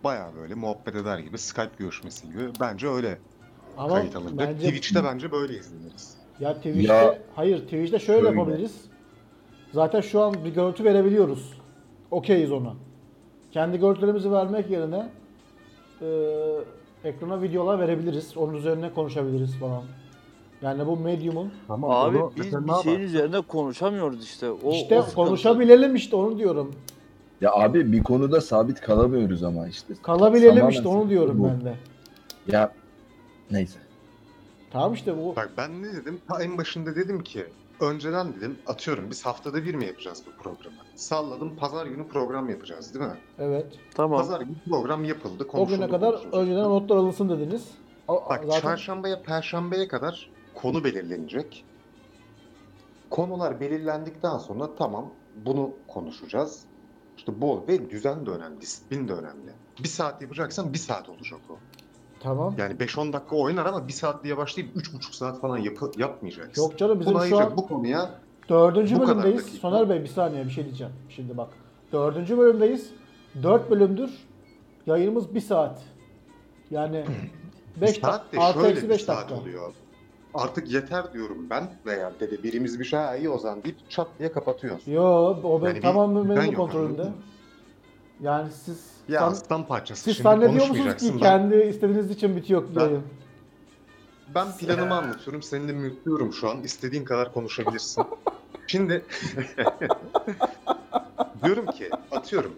Speaker 4: Baya böyle muhabbet eder gibi Skype görüşmesi gibi. Bence öyle
Speaker 3: Ama
Speaker 4: kayıt alınacak.
Speaker 3: bence
Speaker 4: Twitch'te bence böyle izleniriz.
Speaker 3: ya Twitch'te
Speaker 5: Ya-
Speaker 3: hayır Twitch'te şöyle
Speaker 5: Şöyle.
Speaker 3: yapabiliriz. Zaten şu an bir görüntü verebiliyoruz. Okeyiz ona. Kendi görüntülerimizi vermek yerine e, ekrana videolar verebiliriz. Onun üzerine konuşabiliriz falan. Yani bu medium'un
Speaker 4: Tamam,
Speaker 2: Abi biz bir şey- şeyin üzerinde konuşamıyoruz işte. O,
Speaker 3: işte
Speaker 2: o sıkıntı.
Speaker 3: konuşabilelim işte onu diyorum.
Speaker 5: Ya abi bir konuda sabit kalamıyoruz ama işte.
Speaker 3: Kalabilelim
Speaker 5: Tamamen
Speaker 3: işte onu diyorum
Speaker 5: bu.
Speaker 3: ben de.
Speaker 5: Ya neyse.
Speaker 3: Tamam işte bu
Speaker 4: Bak ben ne dedim? Ta en başında dedim ki önceden dedim atıyorum biz haftada bir mi yapacağız bu programı? Salladım pazar günü program yapacağız değil mi?
Speaker 3: evet.
Speaker 2: Tamam.
Speaker 4: Pazar günü program yapıldı.
Speaker 3: O
Speaker 4: konuşuldu,
Speaker 3: güne kadar
Speaker 4: konuşuldu.
Speaker 3: önceden notlar alınsın dediniz. A-
Speaker 4: Bak
Speaker 3: zaten
Speaker 4: çarşambaya perşembeye kadar konu belirlenecek. Konular belirlendikten sonra tamam bunu konuşacağız. İşte bol ve düzen de önemli, disiplin de önemli. Bir saat yapacaksan bir saat olacak o.
Speaker 3: tamam.
Speaker 4: Yani 5-10 dakika oynar ama bir saat diye başlayıp 3,5 saat falan yapı, yapmayacaksın.
Speaker 3: Yok canım bizim
Speaker 4: Bunu
Speaker 3: şu
Speaker 4: ayıracak
Speaker 3: an
Speaker 4: bu konuya
Speaker 3: Dördüncü
Speaker 4: Bu kadar
Speaker 3: bölümdeyiz.
Speaker 4: dakika.
Speaker 3: Soner Bey bir saniye bir şey diyeceğim. Şimdi bak. Dördüncü bölümdeyiz. Dört bölümdür. Yayınımız bir saat. Yani beş
Speaker 4: Bir saat de
Speaker 3: dakika. Artı
Speaker 4: şöyle
Speaker 3: eksi
Speaker 4: bir
Speaker 3: beş
Speaker 4: saat
Speaker 3: dakika.
Speaker 4: oluyor. Artık yeter diyorum ben veya dede birimiz bir şey "Ha, iyi o zaman deyip çat diye kapatıyoruz.
Speaker 3: Yo o ben
Speaker 4: bir
Speaker 3: tamamen
Speaker 4: düzen
Speaker 3: benim
Speaker 4: yok,
Speaker 3: kontrolümde.
Speaker 4: anladın mı?
Speaker 3: Yani siz
Speaker 4: Ya
Speaker 3: san-
Speaker 4: aslan parçası
Speaker 3: siz
Speaker 4: şimdi
Speaker 3: zannediyor musunuz ki
Speaker 4: konuşmayacaksın. ben,
Speaker 3: kendi istediğiniz için bitiyor
Speaker 4: Ben-
Speaker 3: yayın?
Speaker 4: ben planımı anlatıyorum seni de mülklüyorum şu an istediğin kadar konuşabilirsin. şimdi diyorum ki atıyorum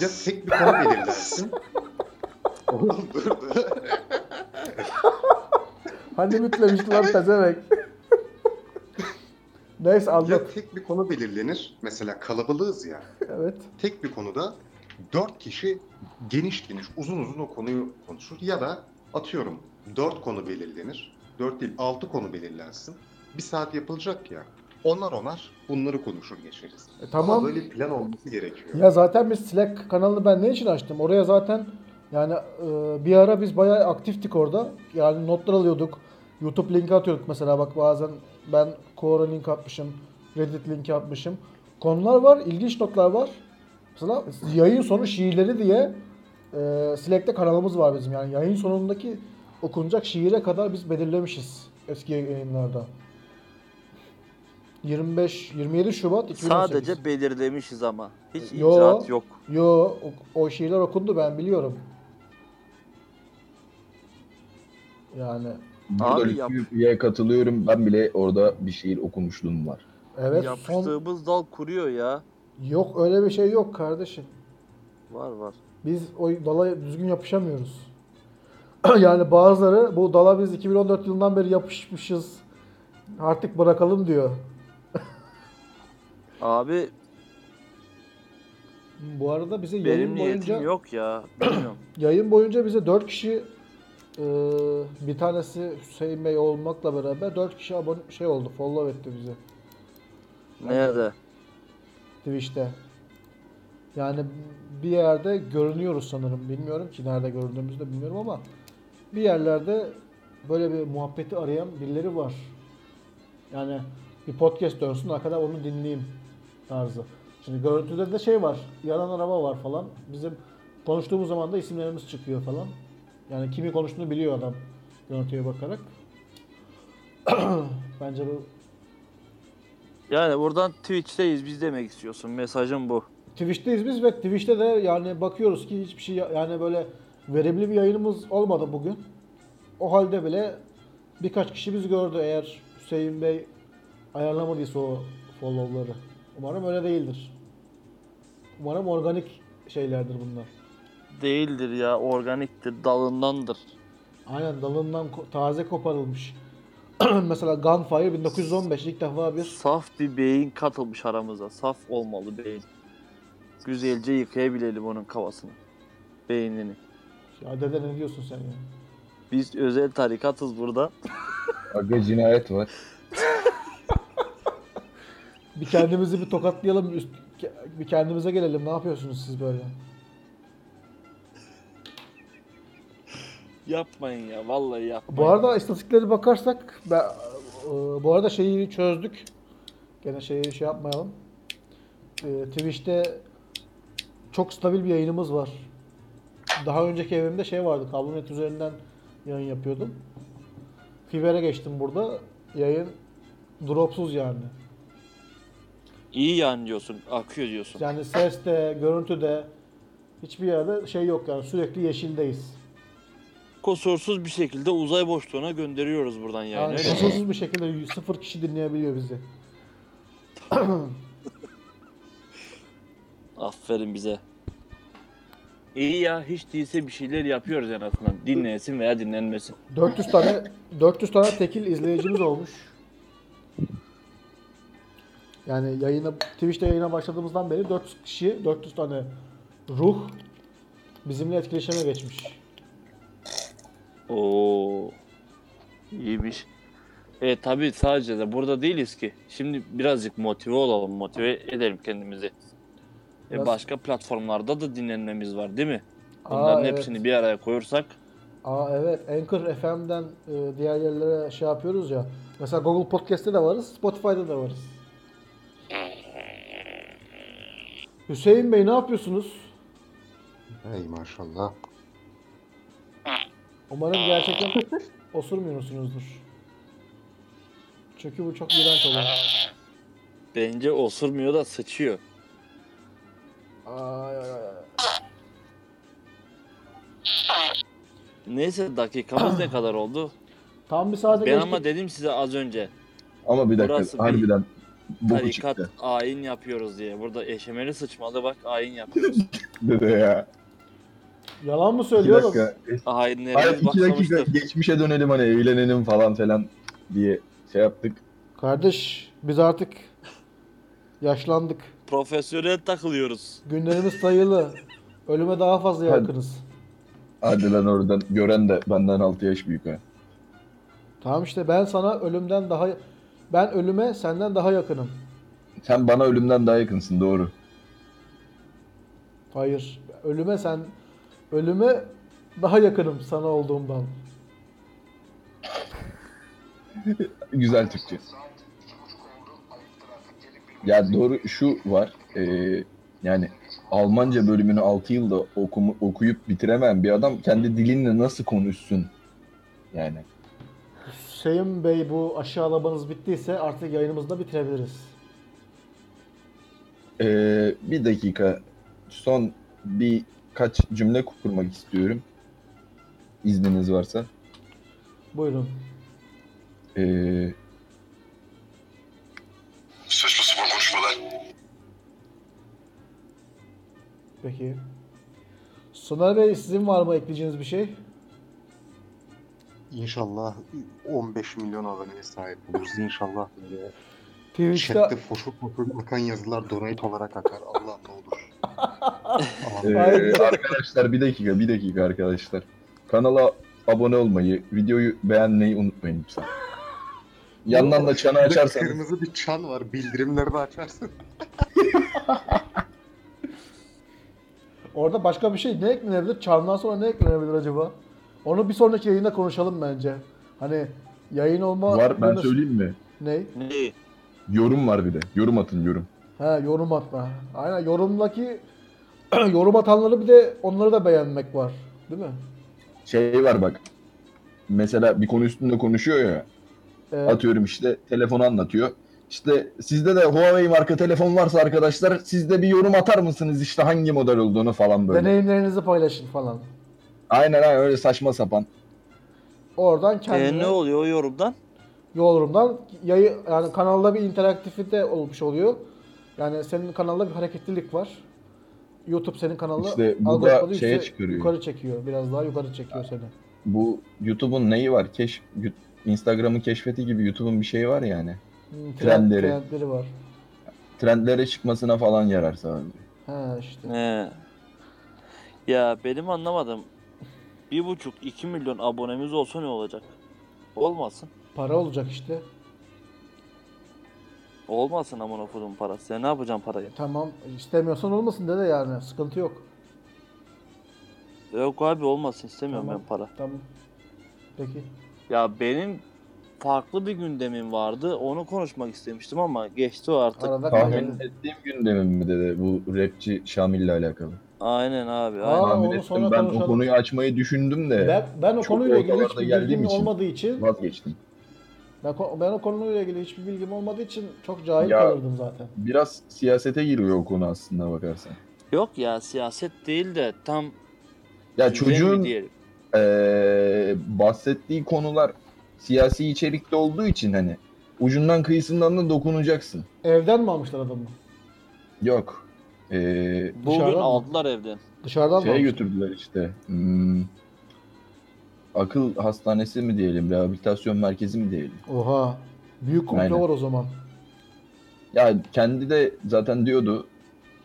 Speaker 4: ya tek bir konu belirlersin. Oğlum dur dur.
Speaker 3: Hani bitlemişti lan pezevenk. Neyse anlat.
Speaker 4: Ya tek bir konu belirlenir. Mesela kalabalığız ya.
Speaker 3: Evet.
Speaker 4: tek bir konuda dört kişi geniş geniş uzun uzun o konuyu konuşur ya da atıyorum dört konu belirlenir. Dört değil altı konu belirlensin. Bir saat yapılacak ya. Onlar onar bunları konuşur geçeriz.
Speaker 3: E, tamam.
Speaker 4: Ama böyle plan olması gerekiyor.
Speaker 3: Ya zaten biz Slack kanalını ben ne için açtım? Oraya zaten yani e, bir ara biz bayağı aktiftik orada. Yani notlar alıyorduk. YouTube linki atıyorduk mesela bak bazen ben Quora link atmışım. Reddit linki atmışım. Konular var, ilginç notlar var. Mesela yayın sonu şiirleri diye e, Slack'te kanalımız var bizim. Yani yayın sonundaki okunacak şiire kadar biz belirlemişiz eski yayınlarda. 25 27 Şubat 2018.
Speaker 2: Sadece belirlemişiz ama. Hiç
Speaker 3: Yo.
Speaker 2: icraat yok.
Speaker 3: Yo o, o şiirler okundu ben biliyorum. Yani
Speaker 5: Burada
Speaker 2: Abi yap-
Speaker 5: Lütfü'ye katılıyorum. Ben bile orada bir şiir okumuşluğum var.
Speaker 3: evet son
Speaker 2: Yapıştığımız dal kuruyor ya.
Speaker 3: yok öyle bir şey yok kardeşim.
Speaker 2: Var var.
Speaker 3: Biz o dala düzgün yapışamıyoruz. yani bazıları bu dala biz 2014 yılından beri yapışmışız. Artık bırakalım diyor.
Speaker 2: Abi
Speaker 3: Bu arada bize yayın
Speaker 2: benim niyetim
Speaker 3: boyunca
Speaker 2: yok ya. Bilmiyorum.
Speaker 3: yayın boyunca bize 4 kişi Ee, bir tanesi Hüseyin Bey olmakla beraber 4 kişi abone şey oldu, follow etti bizi
Speaker 2: Nerede?
Speaker 3: Twitch'te. Yani bir yerde görünüyoruz sanırım. Bilmiyorum ki nerede göründüğümüzü de bilmiyorum ama bir yerlerde böyle bir muhabbeti arayan birileri var. Yani bir podcast dönsün arkada onu dinleyeyim tarzı. Şimdi görüntüde de şey var. Yanan araba var falan. Bizim konuştuğumuz zaman da isimlerimiz çıkıyor falan. Yani kimi konuştuğunu biliyor adam görüntüye bakarak. Bence bu
Speaker 2: Yani buradan Twitch'teyiz biz demek istiyorsun. Mesajım bu.
Speaker 3: Twitch'teyiz biz ve Twitch'te de yani bakıyoruz ki hiçbir şey yani böyle verimli bir yayınımız olmadı bugün. O halde bile birkaç kişi bizi gördü eğer Hüseyin Bey ayarlamadıysa o follow'ları. Umarım öyle değildir. Umarım organik şeylerdir bunlar.
Speaker 2: Değildir ya organiktir dalındandır.
Speaker 3: Aynen dalından ko- taze koparılmış. Mesela Gunfire 1915 ilk defa bir
Speaker 2: Saf bir beyin katılmış aramıza. Saf olmalı beyin. Güzelce yıkayabilelim onun kafasını. Beynini.
Speaker 3: ya dede ne diyorsun sen ya?
Speaker 2: Biz özel tarikatız burada.
Speaker 5: Aga cinayet var.
Speaker 3: Bir kendimizi bir tokatlayalım, üst, bir kendimize gelelim. Ne yapıyorsunuz siz böyle?
Speaker 2: Yapmayın ya vallahi yapmayın.
Speaker 3: Bu arada istatistiklere bakarsak ben, e, bu arada şeyi çözdük. Gene şeyi şey yapmayalım. E, Twitch'te çok stabil bir yayınımız var. Daha önceki evimde şey vardı. Kablonet üzerinden yayın yapıyordum. Fiber'e geçtim burada. Yayın dropsuz yani.
Speaker 2: İyi yani diyorsun. Akıyor diyorsun.
Speaker 3: Yani ses de, görüntü de hiçbir yerde şey yok yani sürekli yeşildeyiz.
Speaker 2: Kusursuz bir şekilde uzay boşluğuna gönderiyoruz buradan yani.
Speaker 3: Yani
Speaker 2: öyle mi?
Speaker 3: kusursuz bir şekilde sıfır kişi dinleyebiliyor bizi.
Speaker 2: Aferin bize. İyi ya hiç değilse bir şeyler yapıyoruz en azından. Dinlensin veya dinlenmesin.
Speaker 3: 400 tane 400 tane tekil izleyicimiz olmuş. Yani yayına Twitch'te yayına başladığımızdan beri 400 kişi, 400 tane ruh bizimle etkileşime geçmiş.
Speaker 2: Oo. İyiymiş. E tabii sadece de burada değiliz ki. Şimdi birazcık motive olalım, motive edelim kendimizi. E,
Speaker 3: Biraz-
Speaker 2: başka platformlarda da dinlenmemiz var değil mi? Bunların
Speaker 3: Aa, evet.
Speaker 2: hepsini bir araya koyursak
Speaker 3: Aa evet, Anchor FM'den e, diğer yerlere şey yapıyoruz ya. Mesela Google Podcast'te de varız, Spotify'da da varız. Hüseyin Bey ne yapıyorsunuz?
Speaker 4: Ey maşallah.
Speaker 3: Umarım gerçekten osurmuyorsunuzdur. Çünkü bu çok iğrenç olur.
Speaker 2: bence osurmuyor da sıçıyor.
Speaker 3: Ay, ay, ay.
Speaker 2: Neyse dakikamız ne kadar oldu?
Speaker 3: Tam bir saate
Speaker 2: Ben
Speaker 3: geçtik.
Speaker 2: ama dedim size az önce.
Speaker 5: Ama bir dakika
Speaker 2: Burası bir
Speaker 5: harbiden bu
Speaker 2: Tarikat
Speaker 5: çıktı
Speaker 2: ayin yapıyoruz diye. Burada eşemeli sıçmalı bak ayin yapıyoruz.
Speaker 5: dede ya.
Speaker 3: Yalan mı
Speaker 5: İki
Speaker 3: söylüyorum?
Speaker 5: dakika. Hayır
Speaker 2: Hainlerimiz
Speaker 5: iki dakika
Speaker 2: başlamıştır.
Speaker 5: geçmişe dönelim hani eğlenelim falan filan diye şey yaptık.
Speaker 3: Kardeş biz artık yaşlandık.
Speaker 2: Profesyonel takılıyoruz.
Speaker 3: Günlerimiz sayılı. Ölüme daha fazla
Speaker 5: Hadi.
Speaker 3: yakınız.
Speaker 5: Hadi lan oradan gören de benden 6 yaş büyük ha.
Speaker 3: Tamam işte ben sana ölümden daha... Ben ölüme senden daha yakınım.
Speaker 5: Sen bana ölümden daha yakınsın doğru.
Speaker 3: Hayır. Ölüme sen... Ölüme daha yakınım sana olduğumdan.
Speaker 5: Güzel Türkçe. Ya doğru şu var. eee, yani Almanca bölümünü 6 yılda okumu, okuyup bitiremeyen bir adam kendi dilinle nasıl konuşsun? Yani
Speaker 3: Hüseyin Bey bu aşağılamanız bittiyse artık yayınımızı da bitirebiliriz.
Speaker 5: eee, e, bir dakika son bir kaç cümle kurmak istiyorum. İzniniz varsa.
Speaker 3: Buyurun.
Speaker 5: Eee
Speaker 7: Saçma sapan konuşmalar.
Speaker 3: Peki. Soner Bey sizin var mı ekleyeceğiniz bir şey?
Speaker 4: İnşallah 15 milyon aboneye sahip oluruz. İnşallah böyle chatte
Speaker 3: Twitch'te
Speaker 4: foşur foşur akan yazılar donate olarak akar. Allah ne olur. Aman.
Speaker 5: Ee,
Speaker 3: Hayır.
Speaker 5: arkadaşlar bir dakika bir dakika arkadaşlar. Kanala abone olmayı, videoyu beğenmeyi unutmayın lütfen. Yandan da çanı açarsanız
Speaker 4: Kırmızı bir çan var. Bildirimleri de açarsın.
Speaker 3: Orada başka bir şey ne eklenebilir? Çandan sonra ne eklenebilir acaba? Onu bir sonraki yayında konuşalım bence. Hani yayın olma...
Speaker 5: var ben
Speaker 3: Ne?
Speaker 5: söyleyeyim mi?
Speaker 3: Ne?
Speaker 2: Ne?
Speaker 5: Yorum var bir de. Yorum atın yorum.
Speaker 3: He yorum atma. Aynen yorumdaki yorum atanları bir de onları da beğenmek var. Değil mi?
Speaker 5: Şey var bak. Mesela bir konu üstünde konuşuyor ya.
Speaker 3: Ee,
Speaker 5: Atıyorum işte telefonu anlatıyor. İşte sizde de Huawei marka telefon varsa arkadaşlar siz de bir yorum atar mısınız işte hangi model olduğunu falan böyle.
Speaker 3: deneyimlerinizi paylaşın falan.
Speaker 5: Aynen aynen öyle saçma sapan.
Speaker 3: Oradan
Speaker 2: E,
Speaker 3: kendine
Speaker 2: ne oluyor o yorumdan?
Speaker 3: yorumdan yayı yani kanalda bir interaktifite olmuş oluyor. Yani senin kanalda bir hareketlilik var. YouTube senin kanalda
Speaker 5: İşte bu da
Speaker 3: algoritmanı
Speaker 5: şeye
Speaker 3: yükse-
Speaker 5: çıkarıyor.
Speaker 3: yukarı çekiyor. Biraz daha yukarı çekiyor seni.
Speaker 5: Bu YouTube'un neyi var? Keş Yu- Instagram'ın keşfeti gibi YouTube'un bir şeyi var yani.
Speaker 3: Hmm, Trend,
Speaker 5: Trendleri.
Speaker 3: trendleri var.
Speaker 5: Trendlere çıkmasına falan yarar sadece.
Speaker 3: Ha işte.
Speaker 2: He. E, Ya benim anlamadım. Bir buçuk iki milyon abonemiz olsa ne olacak? Olmasın.
Speaker 3: Para olacak işte.
Speaker 2: Olmasın amına kodum parası. Ya ne yapacağım parayı?
Speaker 3: Tamam istemiyorsan olmasın dede yani. Sıkıntı yok.
Speaker 2: Yok abi olmasın istemiyorum
Speaker 3: Tamam.
Speaker 2: ben para.
Speaker 3: Tamam. Peki.
Speaker 2: Ya benim farklı bir gündemim vardı. Onu konuşmak istemiştim ama geçti o artık.
Speaker 3: Arada
Speaker 5: Tahmin
Speaker 3: kaynadı.
Speaker 5: ettiğim gündemim mi dedi bu rapçi Şamil'le alakalı.
Speaker 2: Aynen abi.
Speaker 3: Aa,
Speaker 2: Aynen.
Speaker 5: Tahmin
Speaker 3: onu
Speaker 5: ettim.
Speaker 3: sonra
Speaker 5: ben
Speaker 3: konuşalım.
Speaker 5: o konuyu açmayı düşündüm de
Speaker 3: Ben, ben o
Speaker 5: Çok
Speaker 3: konuyla ilgili
Speaker 5: ortalarda
Speaker 3: hiçbir bilgim
Speaker 5: geldiğim için.
Speaker 3: olmadığı için
Speaker 5: vazgeçtim.
Speaker 3: ben, ko- ben o konuyla ilgili hiçbir bilgim olmadığı için çok cahil
Speaker 5: Ya-
Speaker 3: kalırdım zaten.
Speaker 5: Biraz siyasete giriyor o konu aslında bakarsan.
Speaker 2: Yok ya siyaset değil de tam
Speaker 5: Ya
Speaker 2: düzen mi
Speaker 5: çocuğun
Speaker 2: diyelim.
Speaker 5: eee, bahsettiği konular siyasi içerikte olduğu için hani ucundan kıyısından da dokunacaksın.
Speaker 3: Evden mi almışlar adamı?
Speaker 5: Yok. Eee
Speaker 2: Bugün
Speaker 3: Dışarıdan mı?
Speaker 2: aldılar evden.
Speaker 3: Dışarıdan mı
Speaker 5: şeye
Speaker 3: almışlar?
Speaker 5: götürdüler işte. hmm, akıl hastanesi mi diyelim, rehabilitasyon merkezi mi diyelim.
Speaker 3: Oha. Büyük komplo
Speaker 5: Aynen.
Speaker 3: var o zaman.
Speaker 5: Ya kendi de zaten diyordu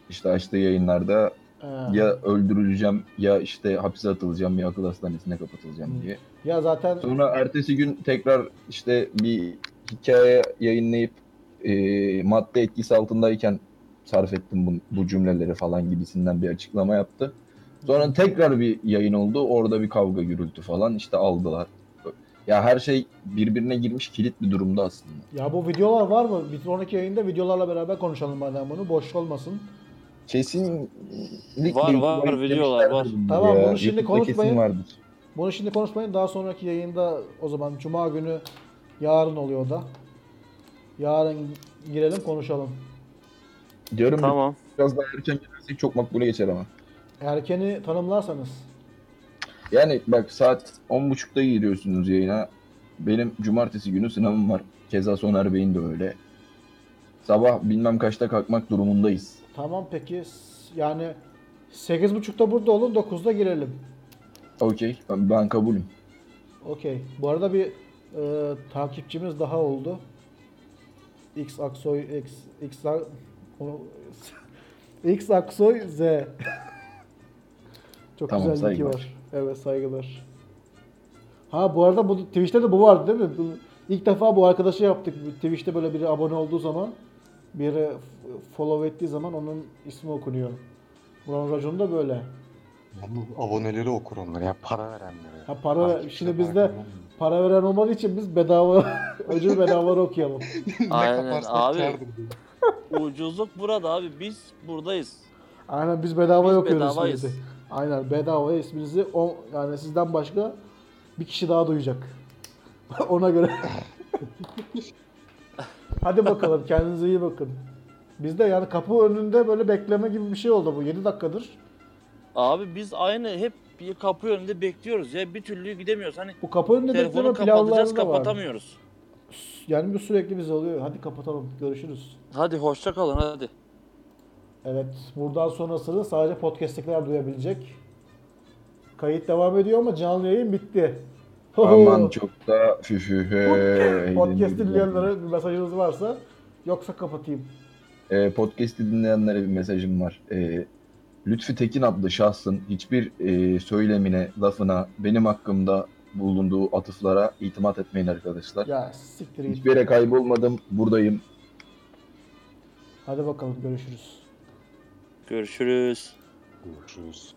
Speaker 5: işte açtığı yayınlarda
Speaker 3: Ee,
Speaker 5: ya öldürüleceğim ya işte hapise atılacağım ya akıl hastanesine
Speaker 3: Hı.
Speaker 5: kapatılacağım diye.
Speaker 3: ya zaten
Speaker 5: Sonra ertesi gün tekrar işte bir hikaye yayınlayıp e, madde etkisi altındayken sarf ettim bu, bu cümleleri falan gibisinden bir açıklama yaptı. Sonra tekrar bir yayın oldu. Orada bir kavga gürültü falan işte aldılar. Ya her şey birbirine girmiş kilit bir durumda aslında.
Speaker 3: ya bu videolar var mı? Bir sonraki yayında videolarla beraber konuşalım madem bunu. Boş olmasın.
Speaker 5: Kesinlik
Speaker 2: Var,
Speaker 5: bir-
Speaker 2: var,
Speaker 5: bir-
Speaker 2: videolar var.
Speaker 5: demişlerdir
Speaker 3: Tamam,
Speaker 5: ya.
Speaker 3: bunu şimdi
Speaker 5: YouTube'da kesin
Speaker 3: konuşmayın.
Speaker 5: vardır.
Speaker 3: Bunu şimdi konuşmayın. Daha sonraki yayında o zaman Cuma günü yarın oluyor da. Yarın girelim konuşalım.
Speaker 5: Diyorum
Speaker 2: Tamam.
Speaker 5: biraz daha erken girersek çok makbule geçer ama.
Speaker 3: Erkeni tanımlarsanız.
Speaker 5: Yani bak saat 10.30'da giriyorsunuz yayına. Benim cumartesi günü sınavım var. Keza Soner Bey'in de öyle. Sabah bilmem kaçta kalkmak durumundayız.
Speaker 3: Tamam peki. S- Yani 8.30'da burada olun 9'da girelim.
Speaker 5: Okey ben, ben kabulüm.
Speaker 3: Okey. Bu arada bir e, takipçimiz daha oldu. X Aksoy X X A- o- X Aksoy Z. Çok
Speaker 5: Tamam,
Speaker 3: güzel linki
Speaker 5: saygılar.
Speaker 3: var. Evet saygılar. Ha bu arada bu Twitch'te de bu vardı değil mi? Bu, ilk defa bu arkadaşı yaptık. Bu Twitch'te böyle biri abone olduğu zaman, biri f- follow ettiği zaman onun ismi okunuyor. Buranın raconu da böyle.
Speaker 4: Ama aboneleri okur onlar ya. Para verenleri.
Speaker 3: Ha para ver-
Speaker 4: Takipçi
Speaker 3: şimdi
Speaker 4: de
Speaker 3: bizde
Speaker 4: para vermiyor.
Speaker 3: para veren olmadığı için biz bedava ödül bedavaları okuyalım.
Speaker 4: Ne
Speaker 2: Aynen
Speaker 4: kaparsak
Speaker 2: abi.
Speaker 4: kârdır diyor.
Speaker 2: Ucuzluk burada abi. Biz buradayız.
Speaker 3: Aynen biz bedava
Speaker 2: Biz
Speaker 3: okuyoruz
Speaker 2: bedavayız.
Speaker 3: isminizi. Aynen bedava isminizi o yani sizden başka bir kişi daha duyacak. Ona göre. Hadi bakalım kendinize iyi bakın. Bizde yani kapı önünde böyle bekleme gibi bir şey oldu bu 7 dakikadır.
Speaker 2: Abi biz aynı hep bir kapı önünde bekliyoruz ya. Bir türlü gidemiyoruz. Hani
Speaker 3: Bu kapı önünde bekleme
Speaker 2: telefonu kapatacağız
Speaker 3: planları da var.
Speaker 2: kapatamıyoruz.
Speaker 3: Yani bu sürekli bize oluyor. Hadi kapatalım. Görüşürüz.
Speaker 2: Hadi hoşça kalın hadi.
Speaker 3: Evet, buradan sonrasını sadece podcast'tekiler duyabilecek. Kayıt devam ediyor ama canlı yayın bitti.
Speaker 5: Aman çok da füfühe.
Speaker 3: Podcast'i dinleyenlere bir mesajınız varsa yoksa kapatayım.
Speaker 5: Ee, podcast'i dinleyenlere bir mesajım var. Ee, Lütfi Tekin adlı şahsın hiçbir e, söylemine, lafına e, benim hakkımda bulunduğu atıflara itimat etmeyin arkadaşlar.
Speaker 3: Ya siktir git.
Speaker 5: Hiçbir yere kaybolmadım. Buradayım.
Speaker 3: Hadi bakalım görüşürüz.
Speaker 2: Görüşürüz.
Speaker 4: Görüşürüz.